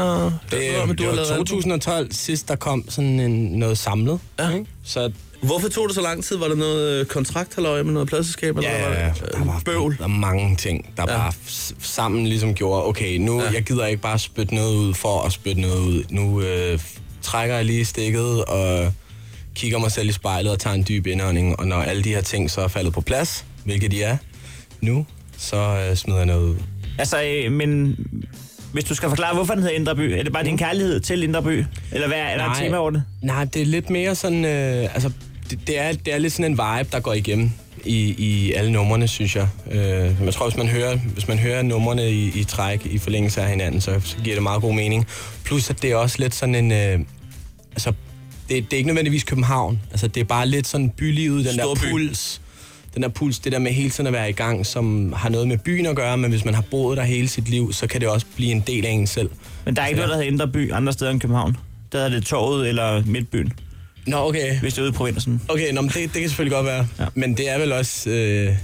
Det, men det, det var 2012 sidst, der kom sådan en, noget samlet. Ja. ikke? Så Hvorfor tog det så lang tid? Var der noget øh, kontrakthaløje med noget pladselskab? Eller hvad var det? Der var, bøvl. Der var mange ting, der ja. bare s- sammen ligesom gjorde, okay, nu ja. jeg gider ikke bare spytte noget ud for at spytte noget ud. Nu øh, trækker jeg lige stikket og kigger mig selv i spejlet og tager en dyb indånding. Og når alle de her ting så er faldet på plads, hvilket de er nu, så øh, smider jeg noget ud. Altså, øh, men hvis du skal forklare, hvorfor den hedder Indre By, er det bare din kærlighed til Indre By? Eller hvad er der et tema over det? Nej, det er lidt mere sådan, øh, altså, det, det, er, det er lidt sådan en vibe, der går igennem i, i alle numrene, synes jeg. Øh, jeg tror, hvis man hører, hvis man hører numrene i, i træk i forlængelse af hinanden, så, så giver det meget god mening. Plus, at det er også lidt sådan en, øh, altså, det, det er ikke nødvendigvis København. Altså, det er bare lidt sådan bylivet, den Storby. der puls. Den der puls, det der med hele tiden at være i gang, som har noget med byen at gøre, men hvis man har boet der hele sit liv, så kan det også blive en del af en selv. Altså, Men der er ikke noget, der hedder Indre By andre steder end København. Der hedder det Torvet eller Midtbyen, Nå, okay. hvis det er ude i provinsen. Okay, nå, men det, det kan selvfølgelig godt være. Ja. Ja. Men det er vel også øh,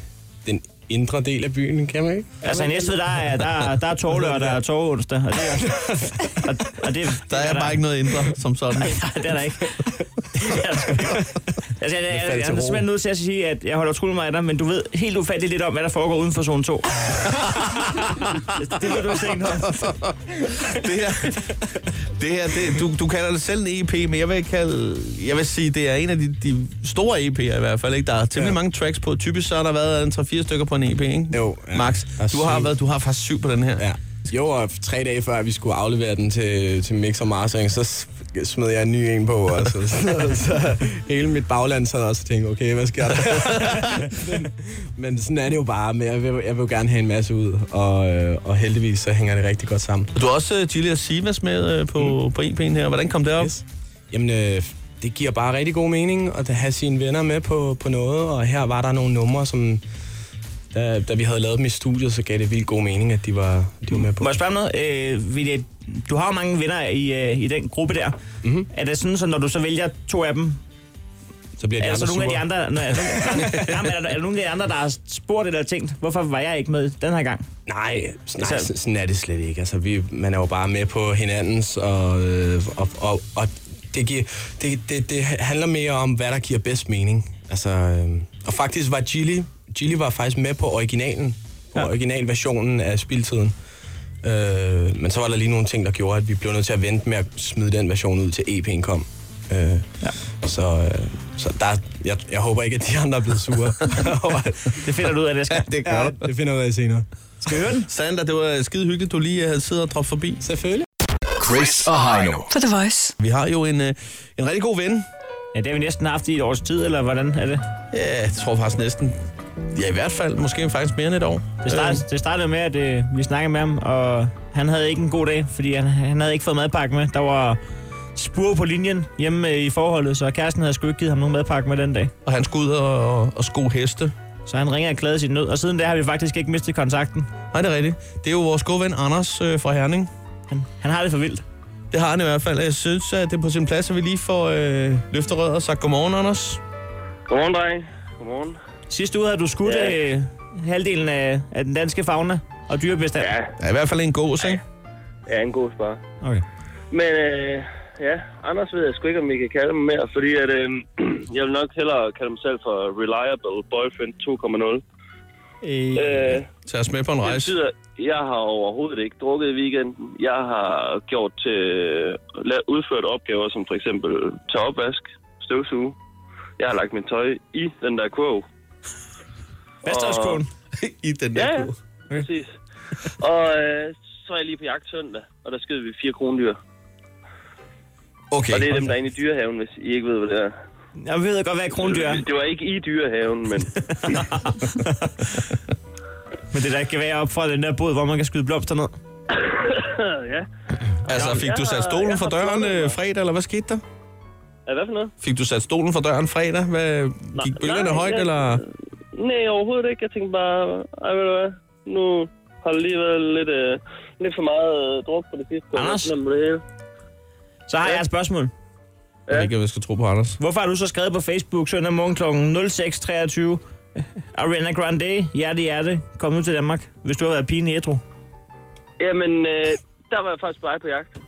den indre del af byen, kan man ikke? Altså i Næstved, der er, der, der er torvlørdag og der er torveonsdag. Og det er, og, og det, Der er bare ikke noget indre, som sådan. Nej, det er der ikke. Det er der sgu ikke. altså, jeg, jeg, jeg, jeg er simpelthen nødt til at sige, at jeg holder utrolig meget af dig, men du ved helt ufatteligt lidt om, hvad der foregår uden for [LAUGHS] zone 2. det ved du ikke noget. om. det her, det her det, du, du kalder det selv en EP, men jeg vil, kalde, jeg vil sige, det er en af de, de store EP'er i hvert fald. Ikke? Der er temmelig ja. mange tracks på. Typisk så har der været en 3-4 stykker på en EP, ikke? Jo, ja. Max, Der er du har, syv. været, du har faktisk syv på den her. Ja. Jo, og tre dage før vi skulle aflevere den til, til Mix og Mastering, så s- smed jeg en ny en på. Og så, så, så hele mit bagland sad også og tænkte, okay, hvad sker der? men, men sådan er det jo bare. Men jeg vil, jeg vil jo gerne have en masse ud, og, øh, og heldigvis så hænger det rigtig godt sammen. Du har også uh, Julia Sivas med uh, på, mm. på EP'en her. Hvordan kom det op? Yes. Jamen, øh, [LAUGHS] det giver bare rigtig god mening at have sine venner med på, på noget, og her var der nogle numre, som... Da, da vi havde lavet dem i studiet, så gav det vildt god mening, at de var, de var med på. Må jeg spørge om noget? Øh, Vilja, du har jo mange venner i, øh, i den gruppe der. Mm-hmm. Er det sådan, så når du så vælger to af dem, Mhm. Så bliver de er der andre så nogle af de sure. andre, nej, er, der, jamen, er, der, er der nogle af de andre, der har spurgt eller tænkt, hvorfor var jeg ikke med den her gang? Nej, nej Altså- altså, sådan er det slet ikke. Altså, vi, man er jo bare med på hinandens, og, øh, og, og, og det, giver, det, det, det handler mere om, hvad der giver bedst mening. Altså, øh, og faktisk var Gilly, Gilly var faktisk med på originalen, på Ja. ja. originalversionen af Spiltiden. Øh, men så var der lige nogle ting, der gjorde, at vi blev nødt til at vente med at smide den version ud til EP'en kom. Øh, ja. Så, øh, så der, jeg, jeg håber ikke, at de andre er blevet sure. [LAUGHS] Det finder du ud af næste gang. Det ja, det finder jeg ud af senere. øh, Sander, det var skide hyggeligt, du lige havde siddet og droppet forbi. Selvfølgelig. Chris og Heino. På The Voice. Vi har jo en, øh, en rigtig god ven. Ja, det har vi næsten haft i et års tid, eller hvordan er det? Ja, jeg tror faktisk næsten. Ja, i hvert fald. Måske faktisk mere end et år. Det, start, det startede med, at øh, vi snakkede med ham, og han havde ikke en god dag, fordi han, han havde ikke fået madpakke med. Der var spur på linjen hjemme øh, i forholdet, så kæresten havde sgu ikke givet ham nogen madpakke med den dag. Og han skulle ud og, og, og sko heste. Så han ringer og klager sin nød, og siden da har vi faktisk ikke mistet kontakten. Nej, det er rigtigt. Det er jo vores gode ven Anders øh, fra Herning. Han, han har det for vildt. Det har han i hvert fald. Jeg synes, at det er på sin plads, at vi lige får øh, løftet røret og sagt godmorgen, Anders. Godmorgen, dreng. Godmorgen. Sidste uge havde du skudt ja. øh, halvdelen af, af den danske fauna og dyrebestand. Ja. Ja, i hvert fald en god, ikke? Ja, en god spar. Okay. Men øh, ja, Anders ved jeg sgu ikke, om vi kan kalde dem mere, fordi at, øh, [CLEARS THROAT] jeg vil nok hellere kalde dem selv for Reliable Boyfriend 2.0. Øh, Øh, Tag os med på en det rejse. betyder, jeg har overhovedet ikke drukket i weekenden. Jeg har gjort til, la- udført opgaver som for eksempel tage opvask, støvsuge. Jeg har lagt min tøj i den der kurv. Fastårskålen. I den Ja, der ja. kurv. Præcis. Og øh, så er jeg lige på jagt søndag, og der skød vi fire krondyr. Okay. Og det er dem, der er inde i dyrehaven, hvis I ikke ved, hvad det er. Jeg ved godt, hvad krondyr er, Det var ikke i dyrehaven, [LAUGHS] men men det der ikke kan være op fra den der båd, hvor man kan skyde blomster ned. ja. Altså, fik du sat stolen for døren øh, fredag, eller hvad skete der? Er hvad for noget? Fik du sat stolen for døren fredag? Hvad, gik bølgerne nej, højt, jeg- eller? Nej, overhovedet ikke. Jeg tænkte bare, ej, ved du hvad, nu har det lige været lidt, øh, lidt for meget øh, druk på det sidste. og Anders? sådan er det hele. Så har jeg et spørgsmål. Jeg ved ikke, om jeg skal tro på Anders. Hvorfor har du så skrevet på Facebook søndag morgen kl. 06.23, Ariana Grande, hjerte hjerte, kom nu til Danmark, hvis du har været pigen i ædru. Jamen, øh, der var jeg faktisk bare på jagt.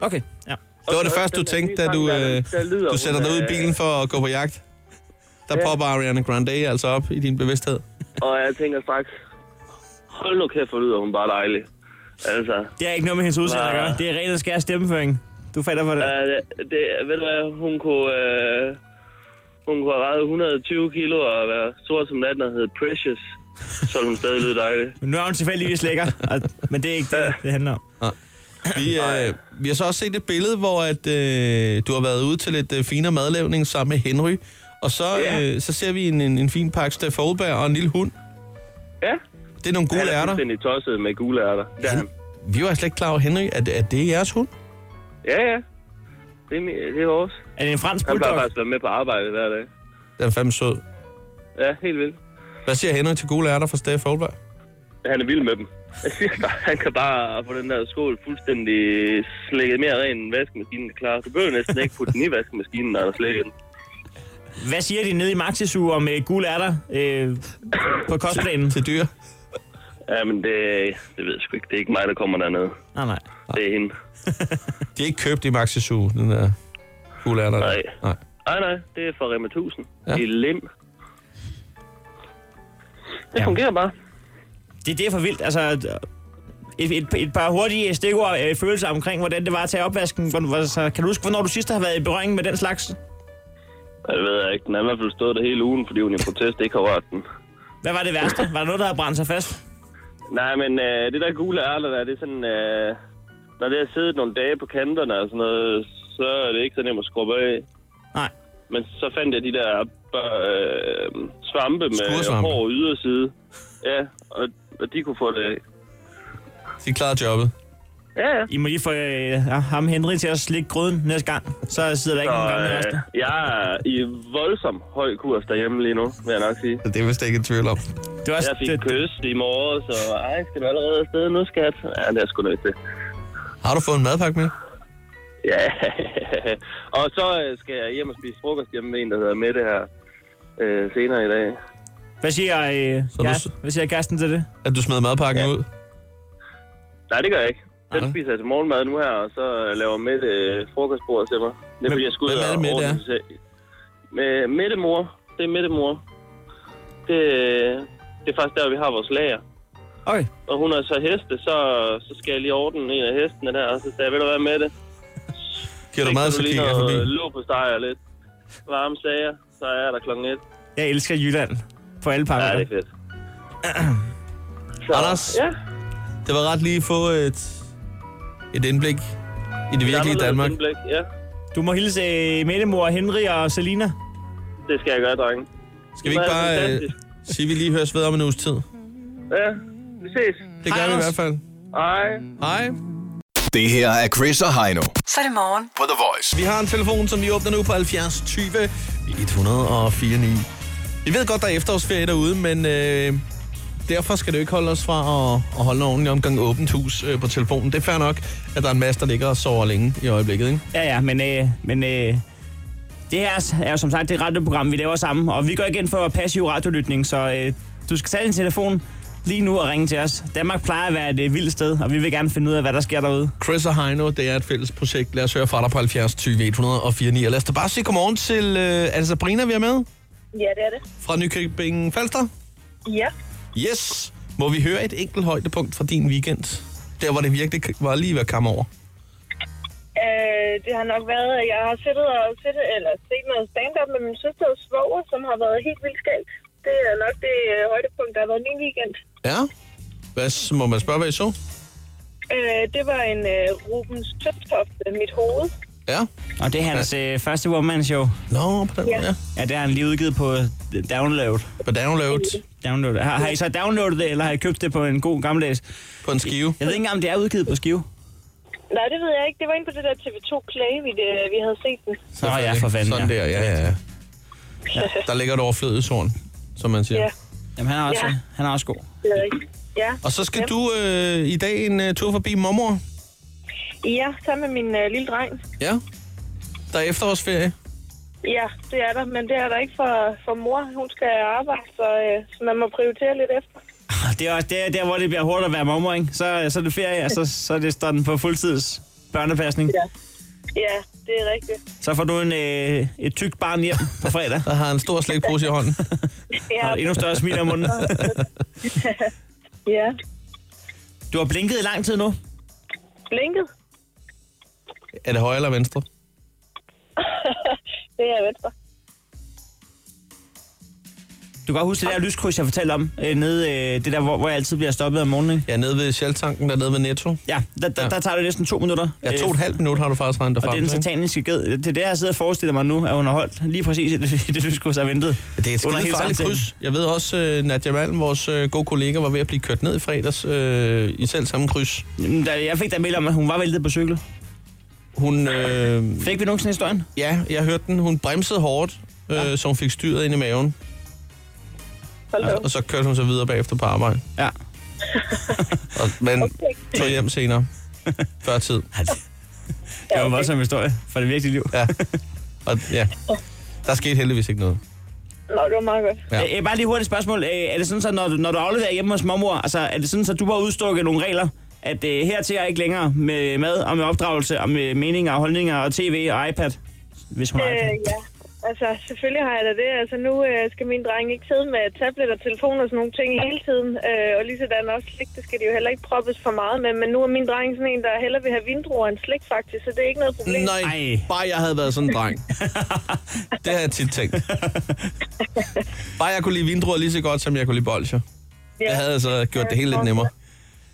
Okay, ja. Det var det så første, du den der tænkte, nye da du, sang, der- øh, der lyder, du sætter hun dig ud i er- bilen for at gå på jagt. Der popper Ariana Grande altså op i din bevidsthed. Og jeg tænker straks, hold nu kæft, for lyder hun bare dejlig. Altså, Det er ikke noget med hendes udseende at gøre. Det er ren og skær stemmeføring. Du falder for det. øh, det, det, ved du hvad, hun kunne... Øh, hun kunne have vejet 120 kilo og være sort som natten og hedde Precious. Så ville hun stadig lyde dejlig. Men nu er hun tilfældigvis lækker, og, men det er ikke det, det handler om. Vi, øh, vi har så også set et billede, hvor at, øh, du har været ude til lidt øh, finere madlavning sammen med Henry. Og så, Ja. øh, så ser vi en, en, en fin pakke Steff Holberg og en lille hund. Ja, Det er nogle gule han er ærter. fuldstændig tosset med gule ærter. Det er han. Vi var slet ikke klar over, Henry, at, at det er jeres hund. Ja, ja. Det er, mi- det er vores. Er det en fransk Han plejer bulldog? faktisk at være med på arbejde hver dag. Den er fandme sød. Ja, helt vildt. Hvad siger Henry til gule ærter fra Steff Holberg? Han er vild med dem. [LAUGHS] Jeg siger bare, han kan bare få den der skål fuldstændig slækket mere ren end vaskemaskinen kan klare. Du behøver næsten ikke putte den i vaskemaskinen, når der slækker den. Hvad siger de nede i Maxisuge om øh, gule ærter øh, på kostplanen? Til dyr? Ja, men det, det ved jeg sgu ikke. Det er ikke mig, der kommer dernede. Nej, nej. Det er hende. De er ikke købt i Maxi Zoo, den der gule ærter. der. Nej. Nej. Nej, nej. Det er fra Rema 1000. Ja. Ja. I Lim. Det Ja. fungerer bare. Det, det er for vildt. Altså, et, et, et par hurtige stikord øh, følelser omkring, hvordan det var at tage opvasken. Hvor- hvor- Altså, kan du huske, hvornår du sidst har været i berøring med den slags? Ja, Det ved jeg ikke. Den har i hvert fald stået der hele ugen, fordi hun i protest ikke har rørt den. Hvad var det værste? Var der noget, der havde brændt sig fast? Nej, men øh, det der gule ærter der, det er sådan... Øh, når det har siddet nogle dage på kanterne og sådan noget, så er det ikke så nemt at skrubbe af. Nej. Men så fandt jeg de der øh, svampe med Skuresvampe. hård yderside. Ja, og, og de kunne få det af. De klarer jobbet. Ja, ja. I må lige få øh, ham Henry til at slikke gryden næste gang. Så sidder der ikke nogen Og gang øh, øh, jeg er i voldsom høj kurs derhjemme lige nu, vil jeg nok sige. Det er vist ikke i tvivl om. Det var også, Jeg fik det, kys i morges, og ej, skal du allerede afsted nu, skat? Ja, det er sgu nødt til. Har du fået en madpakke med? Ja, [LAUGHS] og så øh, skal jeg hjem og spise frokost hjemme med en, der hedder Mette her øh, senere i dag. hvad siger, øh, du kæresten, hvad siger kæresten til det? At du smed madpakken ja. ud? Nej, det gør jeg ikke. Den Nej. spiser jeg til morgenmad nu her, og så øh, laver Mette øh, frokostbordet til mig. Det er, Hvem- fordi jeg skal ud hvem er det, og Mette ordne er? det selv. Med Mette mor. Det er Mette mor. Det, øh, det er faktisk der, vi har vores lager. Okay. Og hun er så heste, så, så skal jeg lige ordne en af hestene der, og så sagde jeg, ved du hvad, Mette? Giver du mad, så kigger jeg forbi. Lå på og lidt. Varme sager, så er jeg der klokken et. Jeg elsker Jylland på alle Ja, parametre. det er [CLEARS THROAT] fedt. Så, Anders? Ja, Det var ret lige at få et, et indblik I det virkelige anderledes Danmark. indblik, Ja, Du må hilse øh, Mettemor, Henry og Selina. det skal jeg gøre, drenge. Skal vi ikke bare øh, sige, at vi lige høres ved om en uges tid? Ja, vi ses. Det gør vi i hvert fald. Hej. Hej. Det her er Chris og Heino. Så er det morgen. På The Voice. Vi har en telefon, som vi åbner nu på 70 20 104 9. Vi ved godt, der er efterårsferie derude, men øh, derfor skal det jo ikke holde os fra at, at holde en ordentlig omgang åbent hus øh, på telefonen. Det er fair nok, at der er en masse, der ligger og sover længe i øjeblikket, ikke? Ja, ja, men, øh, men øh, det her er jo som sagt det radioprogram, vi laver sammen, og vi går igen for passiv radiolytning, så øh, du skal tage din telefon lige nu og ringe til os. Danmark plejer at være et øh, vildt sted, og vi vil gerne finde ud af, hvad der sker derude. Chris og Heino, det er et fælles projekt. Lad os høre fra dig på 70 20 104 9. Og lad os da bare sige godmorgen til, øh, er det Sabrina, vi er med? Ja, det er det. Fra Nykøbing Falster? Ja. Yes! Må vi høre et enkelt højdepunkt fra din weekend? Der, hvor det virkelig var lige ved at komme over. Øh, det har nok været, at jeg har siddet og siddet, eller set noget stand-up med min søster og svoger, som har været helt vildt skægt. Det er nok det øh, højdepunkt, der har været min weekend. Ja? Hvad, s- må man spørge, hvad I så? Øh, det var en øh, Rubens Tøftofte, mit hoved. Ja. Og det er hans øh, første one-man-show. Nå, på den måde, ja. Ja, det har han lige udgivet på øh, download. På download? Download. Har, har I så downloadet det, eller har I købt det på en god gammeldags? På en skive. Jeg ved ikke engang, om det er udgivet på skive. Nej, det ved jeg ikke. Det var inde på det der TV2 Play, vi, det, vi havde set den. Så er jeg for fanden, Sådan ja. der, ja, ja, ja. Der ligger et overflødigt horn, som man siger. Ja. Jamen, han er også, Ja. han er også god. Det ved jeg ikke. Ja. Og så skal Yep. du øh, i dag en øh, tur forbi mormor. Ja, sammen med min øh, lille dreng. Ja. Der er efterårsferie. Ja, det er der, men det er der ikke for, for mor. Hun skal arbejde, så, øh, så man må prioritere lidt efter. Det er også der, der, hvor det bliver hårdt at være mormor, ikke? Så, så er det ferie, og så, så er det står den på fuldtids børnepasning. Ja. Ja, det er rigtigt. Så får du en, øh, et tykt barn hjem på fredag. Der har en stor slikpose i hånden. Ja. Og endnu større smil om munden. [LAUGHS] ja. Du har blinket i lang tid nu. Blinket. [LAUGHS] Er det højre eller venstre? det er venstre. Du kan godt huske det der lyskryds, jeg fortalte om. Øh, nede, øh, det der, hvor, hvor jeg altid bliver stoppet om morgenen. Ikke? Ja, nede ved Shell-tanken, der nede ved Netto. Ja, der, der, der tager det næsten to minutter. Øh, Ja, to og et halvt minut har du faktisk regnet dig Og frem det er den til, ikke? sataniske ged. Det er det, jeg sidder og forestiller mig nu, er underholdt. Lige præcis i det, [LAUGHS] i det lyskryds, jeg ventede. Det er et skide farligt kryds. Jeg ved også, øh, Nadia Malm, vores øh, gode kollega, var ved at blive kørt ned i fredags øh, i selv samme kryds. Jamen, da jeg fik da mail om, at hun var væltet på cykel. Hun, øh, Fik vi nogensinde historien? ja, jeg hørte den. Hun bremsede hårdt, øh, ja. så hun fik styret ind i maven. Hold da Ja, op. og så kørte hun så videre bagefter på arbejde. Ja. [LAUGHS] og, men Okay. tog hjem senere. Før [LAUGHS] tid. Altså, Det var en voldsom historie fra det virkelige liv. [LAUGHS] Ja. Og, ja. Der skete heldigvis ikke noget. Nå, det var meget godt. Ja. Ja. Øh, bare lige hurtigt spørgsmål. Øh, er det sådan, så, når, du, når du afleverer hjemme hos mormor, altså, er det sådan, så du har udstukket nogle regler, at øh, hertil er ikke længere med mad og med opdragelse og med meninger og holdninger og tv og iPad? Hvis hun har Øh, iPad. ja. Altså, selvfølgelig har jeg da det. Altså, nu øh, skal min dreng ikke sidde med tablet og telefon og sådan nogle ting hele tiden. Øh, og lige sådan også slik, det skal de jo heller ikke proppes for meget med. Men nu er min dreng sådan en, der hellere vil have vindruer end slik, faktisk. Så det er ikke noget problem. Nej, Ej. bare jeg havde været sådan en dreng. [LAUGHS] det havde jeg tit tænkt. Bare jeg kunne lide vindruer lige så godt, som jeg kunne lide bolcher. ja. Jeg havde altså gjort det hele lidt nemmere.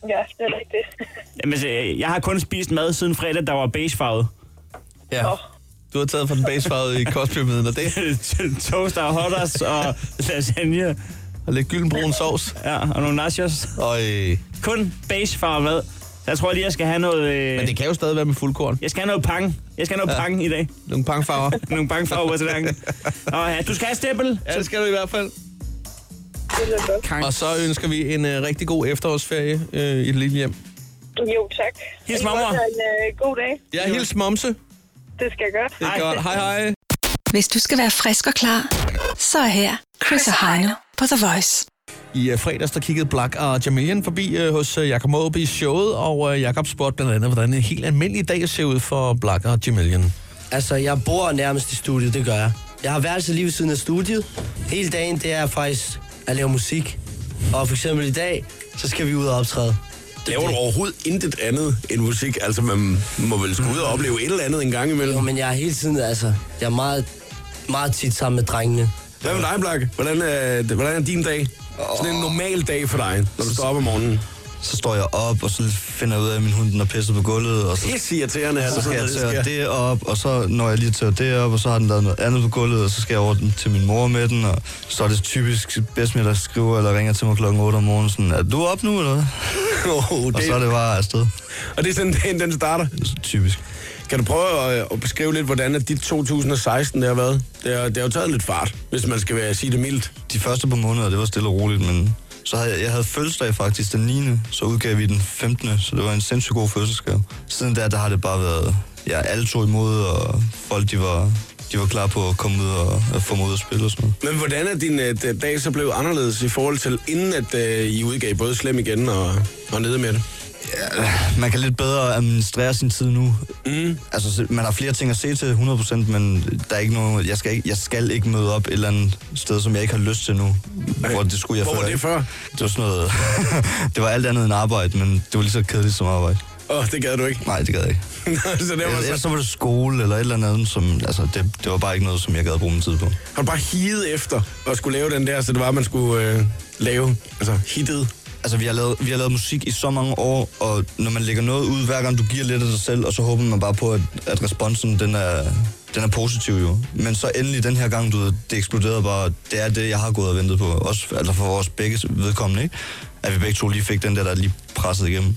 ja, det er rigtigt. [LAUGHS] Jamen, så, øh, jeg har kun spist mad siden fredag, der var beigefarvet. Ja. Du har taget fra den basefarvede [LAUGHS] i kostpyramiden, og det Toast og hotdogs og lasagne og lidt gyldenbrun sovs. ja, og nogle nachos. Og, øh, Kun beigefarvet mad. Så jeg tror lige, jeg skal have noget... Øh, men det kan jo stadig være med fuldkorn. Jeg skal have noget pang. Jeg skal have noget Ja. ja. pang i dag. Nogle pangfarver. [LAUGHS] Nogle pangfarver på tallerkenen. [LAUGHS] Og ja, du skal have stempel. ja, det skal du i hvert fald. Det er godt. Og så ønsker vi en øh, rigtig god efterårsferie øh, i et lille hjem. Jo, tak. Hils I må mormor. have En øh, god dag. Ja, hils momse. Det Det skal jeg gøre. er godt. Hej, hej. Hvis du skal være frisk og klar, så er her Chris og Heino på The Voice. I uh, fredags, der kiggede Black og Jamilian forbi uh, hos uh, Jakob Måb i showet, og uh, Jakob spurgte blandt andet, hvordan en helt almindelig dag ser ud for Black og Jamilian. Altså, jeg bor nærmest i studiet, det gør jeg. Jeg har værelset lige ved siden af studiet. Hele dagen, det er faktisk at lave musik. Og for eksempel i dag, så skal vi ud og optræde. Laver du overhovedet intet andet end musik? Altså, man må vel skulle ud og opleve et eller andet en gang imellem. Jo, men jeg er hele tiden, altså, jeg er meget, meget tit sammen med drengene. Hvad med dig, Blak? Hvordan, øh, hvordan er din dag? Sådan en normal dag for dig, når du står op om morgenen. Så står jeg op, og så finder jeg ud af, at min hund den har pisset på gulvet. Og så, Pisseirriterende, så altså, skal jeg når det tørre sker. det op, og så når jeg lige tørrer det op, og så har den lavet noget andet på gulvet, og så skal jeg over den, til min mor med den, og så er det typisk bedsmænd, der skriver eller ringer til mig klokken 8 om morgenen, sådan, er du op nu, eller [LAUGHS] hvad? oh, Og så er det bare afsted. Og det er sådan, dagen den starter? Typisk. Kan du prøve øh, at, at beskrive lidt, hvordan at dit 2016 det har været? Det har, det har jo taget lidt fart, hvis man skal være, sige det mildt. De første par måneder, det var stille og roligt, men så havde jeg, jeg havde fødselsdag faktisk den 9. Så udgav vi den 15. Så det var en sindssygt god fødselsgave. Siden der, der har det bare været, ja, alle to imod, og folk, de var, de var klar på at komme ud og at få mig ud og spille og sådan noget. Men hvordan er din øh, d- dag så blevet anderledes i forhold til, inden at øh, I udgav både Slem igen og, og Nede med det? Man kan lidt bedre administrere sin tid nu. Mm. Altså, se- man har flere ting at se til 100%, men der er ikke nogen, jeg, skal ikke, jeg skal ikke møde op et eller andet sted, som jeg ikke har lyst til nu. Hvor det skulle jeg Hvor var før, det ikke? før? Det var sådan noget, [LAUGHS] det var alt andet end arbejde, men det var lige så kedeligt som arbejde. Åh, oh, det gad du ikke. Nej, det gad [LAUGHS] jeg ikke. så det var Ellers så... så var det skole eller et eller andet, som, altså, det, det var bare ikke noget, som jeg gad at bruge min tid på. Har du bare higet efter at skulle lave den der, så det var, at man skulle øh, lave altså, hittet? Altså, vi har, lavet, vi har lavet musik i så mange år, og når man lægger noget ud, hver gang du giver lidt af dig selv, og så håber man bare på, at, at responsen, den er, den er positiv jo. Men så endelig den her gang, du ved, det eksploderede bare, det er det, jeg har gået og ventet på. Også altså for vores begge vedkommende, ikke? At vi begge to lige fik den der, der lige pressede igennem.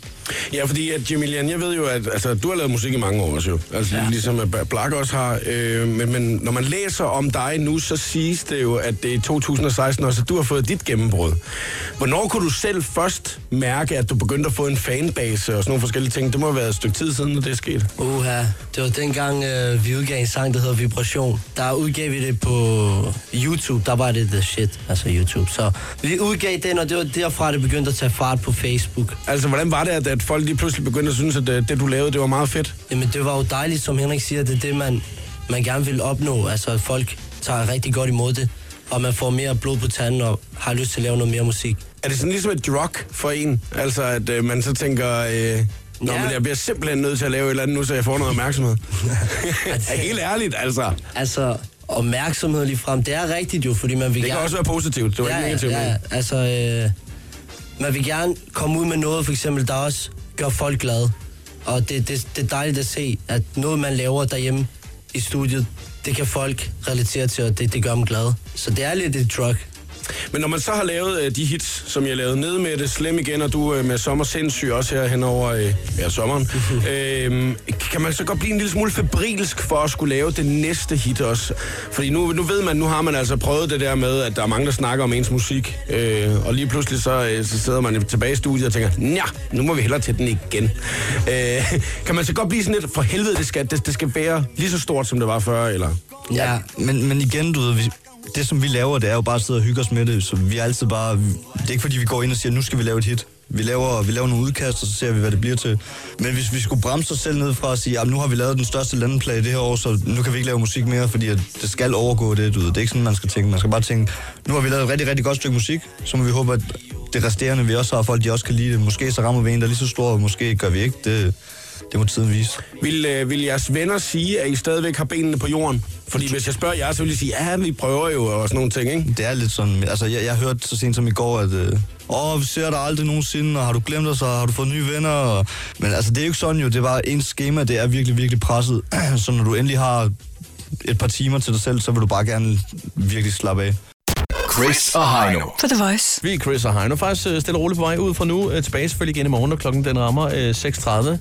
Ja, fordi at Jamilian, jeg ved jo, at altså, du har lavet musik i mange år også jo. Altså ja. ligesom at Black også har. Øh, men, men når man læser om dig nu, så siges det jo, at det er i 2016 også, at du har fået dit gennembrud. Hvornår kunne du selv først mærke, at du begyndte at få en fanbase og sådan nogle forskellige ting? Det må have været et stykke tid siden, at det er sket. Uha, det var dengang øh, vi udgav en sang, der hedder Vibration. Der udgav vi det på YouTube, der var det the shit, altså YouTube. Så vi udgav den, og det var derfra, det begyndte at tage fart på Facebook. Altså, hvordan var det, at, at folk lige pludselig begyndte at synes, at øh, det, det du lavede, det var meget fedt? Jamen, det var jo dejligt, som Henrik siger, det er det, man, man gerne vil opnå. Altså, at folk tager rigtig godt imod det, og man får mere blod på tanden og har lyst til at lave noget mere musik. Er det sådan ligesom et drug for en? Altså, at øh, man så tænker, øh, Nå, Ja. men jeg bliver simpelthen nødt til at lave et eller andet nu, så jeg får noget opmærksomhed. Altså, helt ærligt, altså. Altså, opmærksomhed lige frem, det er rigtigt jo, fordi man vil Det kan gerne... også være positivt, det var ja, ikke negativt. Ja, ja, men- altså, øh, man vil gerne komme ud med noget, for eksempel, der også gør folk glade. Og det, det, det er dejligt at se, at noget, man laver derhjemme i studiet, det kan folk relatere til, og det, det gør dem glade. Så det er lidt et drug. Men når man så har lavet øh, de hits, som jeg lavede ned med det, Slem igen, og du øh, med Sommer Sindssyg også her hen over øh, ja, sommeren, øh, kan man så godt blive en lille smule febrilsk for at skulle lave det næste hit også? Fordi nu, nu ved man, nu har man altså prøvet det der med, at der er mange, der snakker om ens musik, øh, og lige pludselig så, øh, så sidder man tilbage i studiet og tænker, nja, nu må vi hellere til den igen. Øh, [LAUGHS] kan man så godt blive sådan lidt, for helvede, det skal, det, det skal være lige så stort, som det var før, eller? Ja, men, men igen, du ved, vi, det som vi laver, det er jo bare at sidde og hygge os med det, så vi er altid bare, det er ikke fordi vi går ind og siger, nu skal vi lave et hit. Vi laver, vi laver nogle udkast, og så ser vi, hvad det bliver til. Men hvis vi skulle bremse os selv ned fra og sige, "Jamen, nu har vi lavet den største landeplage det her år, så nu kan vi ikke lave musik mere, fordi at det skal overgå det, du ved. Det er ikke sådan, man skal tænke. Man skal bare tænke, nu har vi lavet et rigtig, rigtig godt stykke musik, så må vi håbe, at det resterende, vi også har, folk de også kan lide det. Måske så rammer vi en, der er lige så stor, og måske gør vi ikke. Det, det må tiden vise. Vil, øh, vil jeres venner sige, at I stadigvæk har benene på jorden? Fordi hvis jeg spørger jer, så vil I sige, ja, vi prøver jo og sådan nogle ting, ikke? Det er lidt sådan, altså jeg, jeg hørte så sent som i går, at øh, åh, vi ser dig aldrig nogensinde, og har du glemt os, og har du fået nye venner? Og, men altså det er jo ikke sådan jo, det var ens schema, det er virkelig, virkelig presset. [CLEARS THROAT] så når du endelig har et par timer til dig selv, så vil du bare gerne virkelig slappe af. Chris og Heino. På The Voice. Vi er Chris og Heino. Faktisk øh, stille og roligt på vej ud fra nu. Øh, Tilbage selvfølgelig igen i morgen, når klokken den rammer øh, 6.30.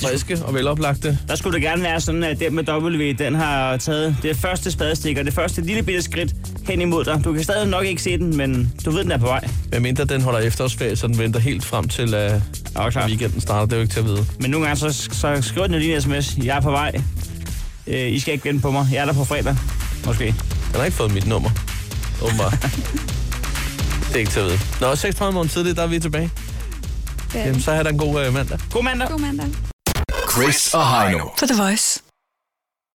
Friske og veloplagte. Der skulle det gerne være sådan, at den med W, den har taget det første spadestik og det første lille bitte skridt hen imod dig. Du kan stadig nok ikke se den, men du ved, den er på vej. Hvad mindre den holder efterårsferie, så den venter helt frem til øh, okay. weekenden starter. Det er jo ikke til at vide. Men nogle gange, så, så skriver den jo lige en sms. Jeg er på vej. Øh, I skal ikke vente på mig. Jeg er der på fredag. Måske. Den har ikke fået mit nummer. Åbenbart. det er ikke til at vide. Nå, 6.30 morgen tidligt, der er vi tilbage. Det er Jamen, så har der en god øh, mandag. God mandag. God mandag. Chris og Heino. På The Voice.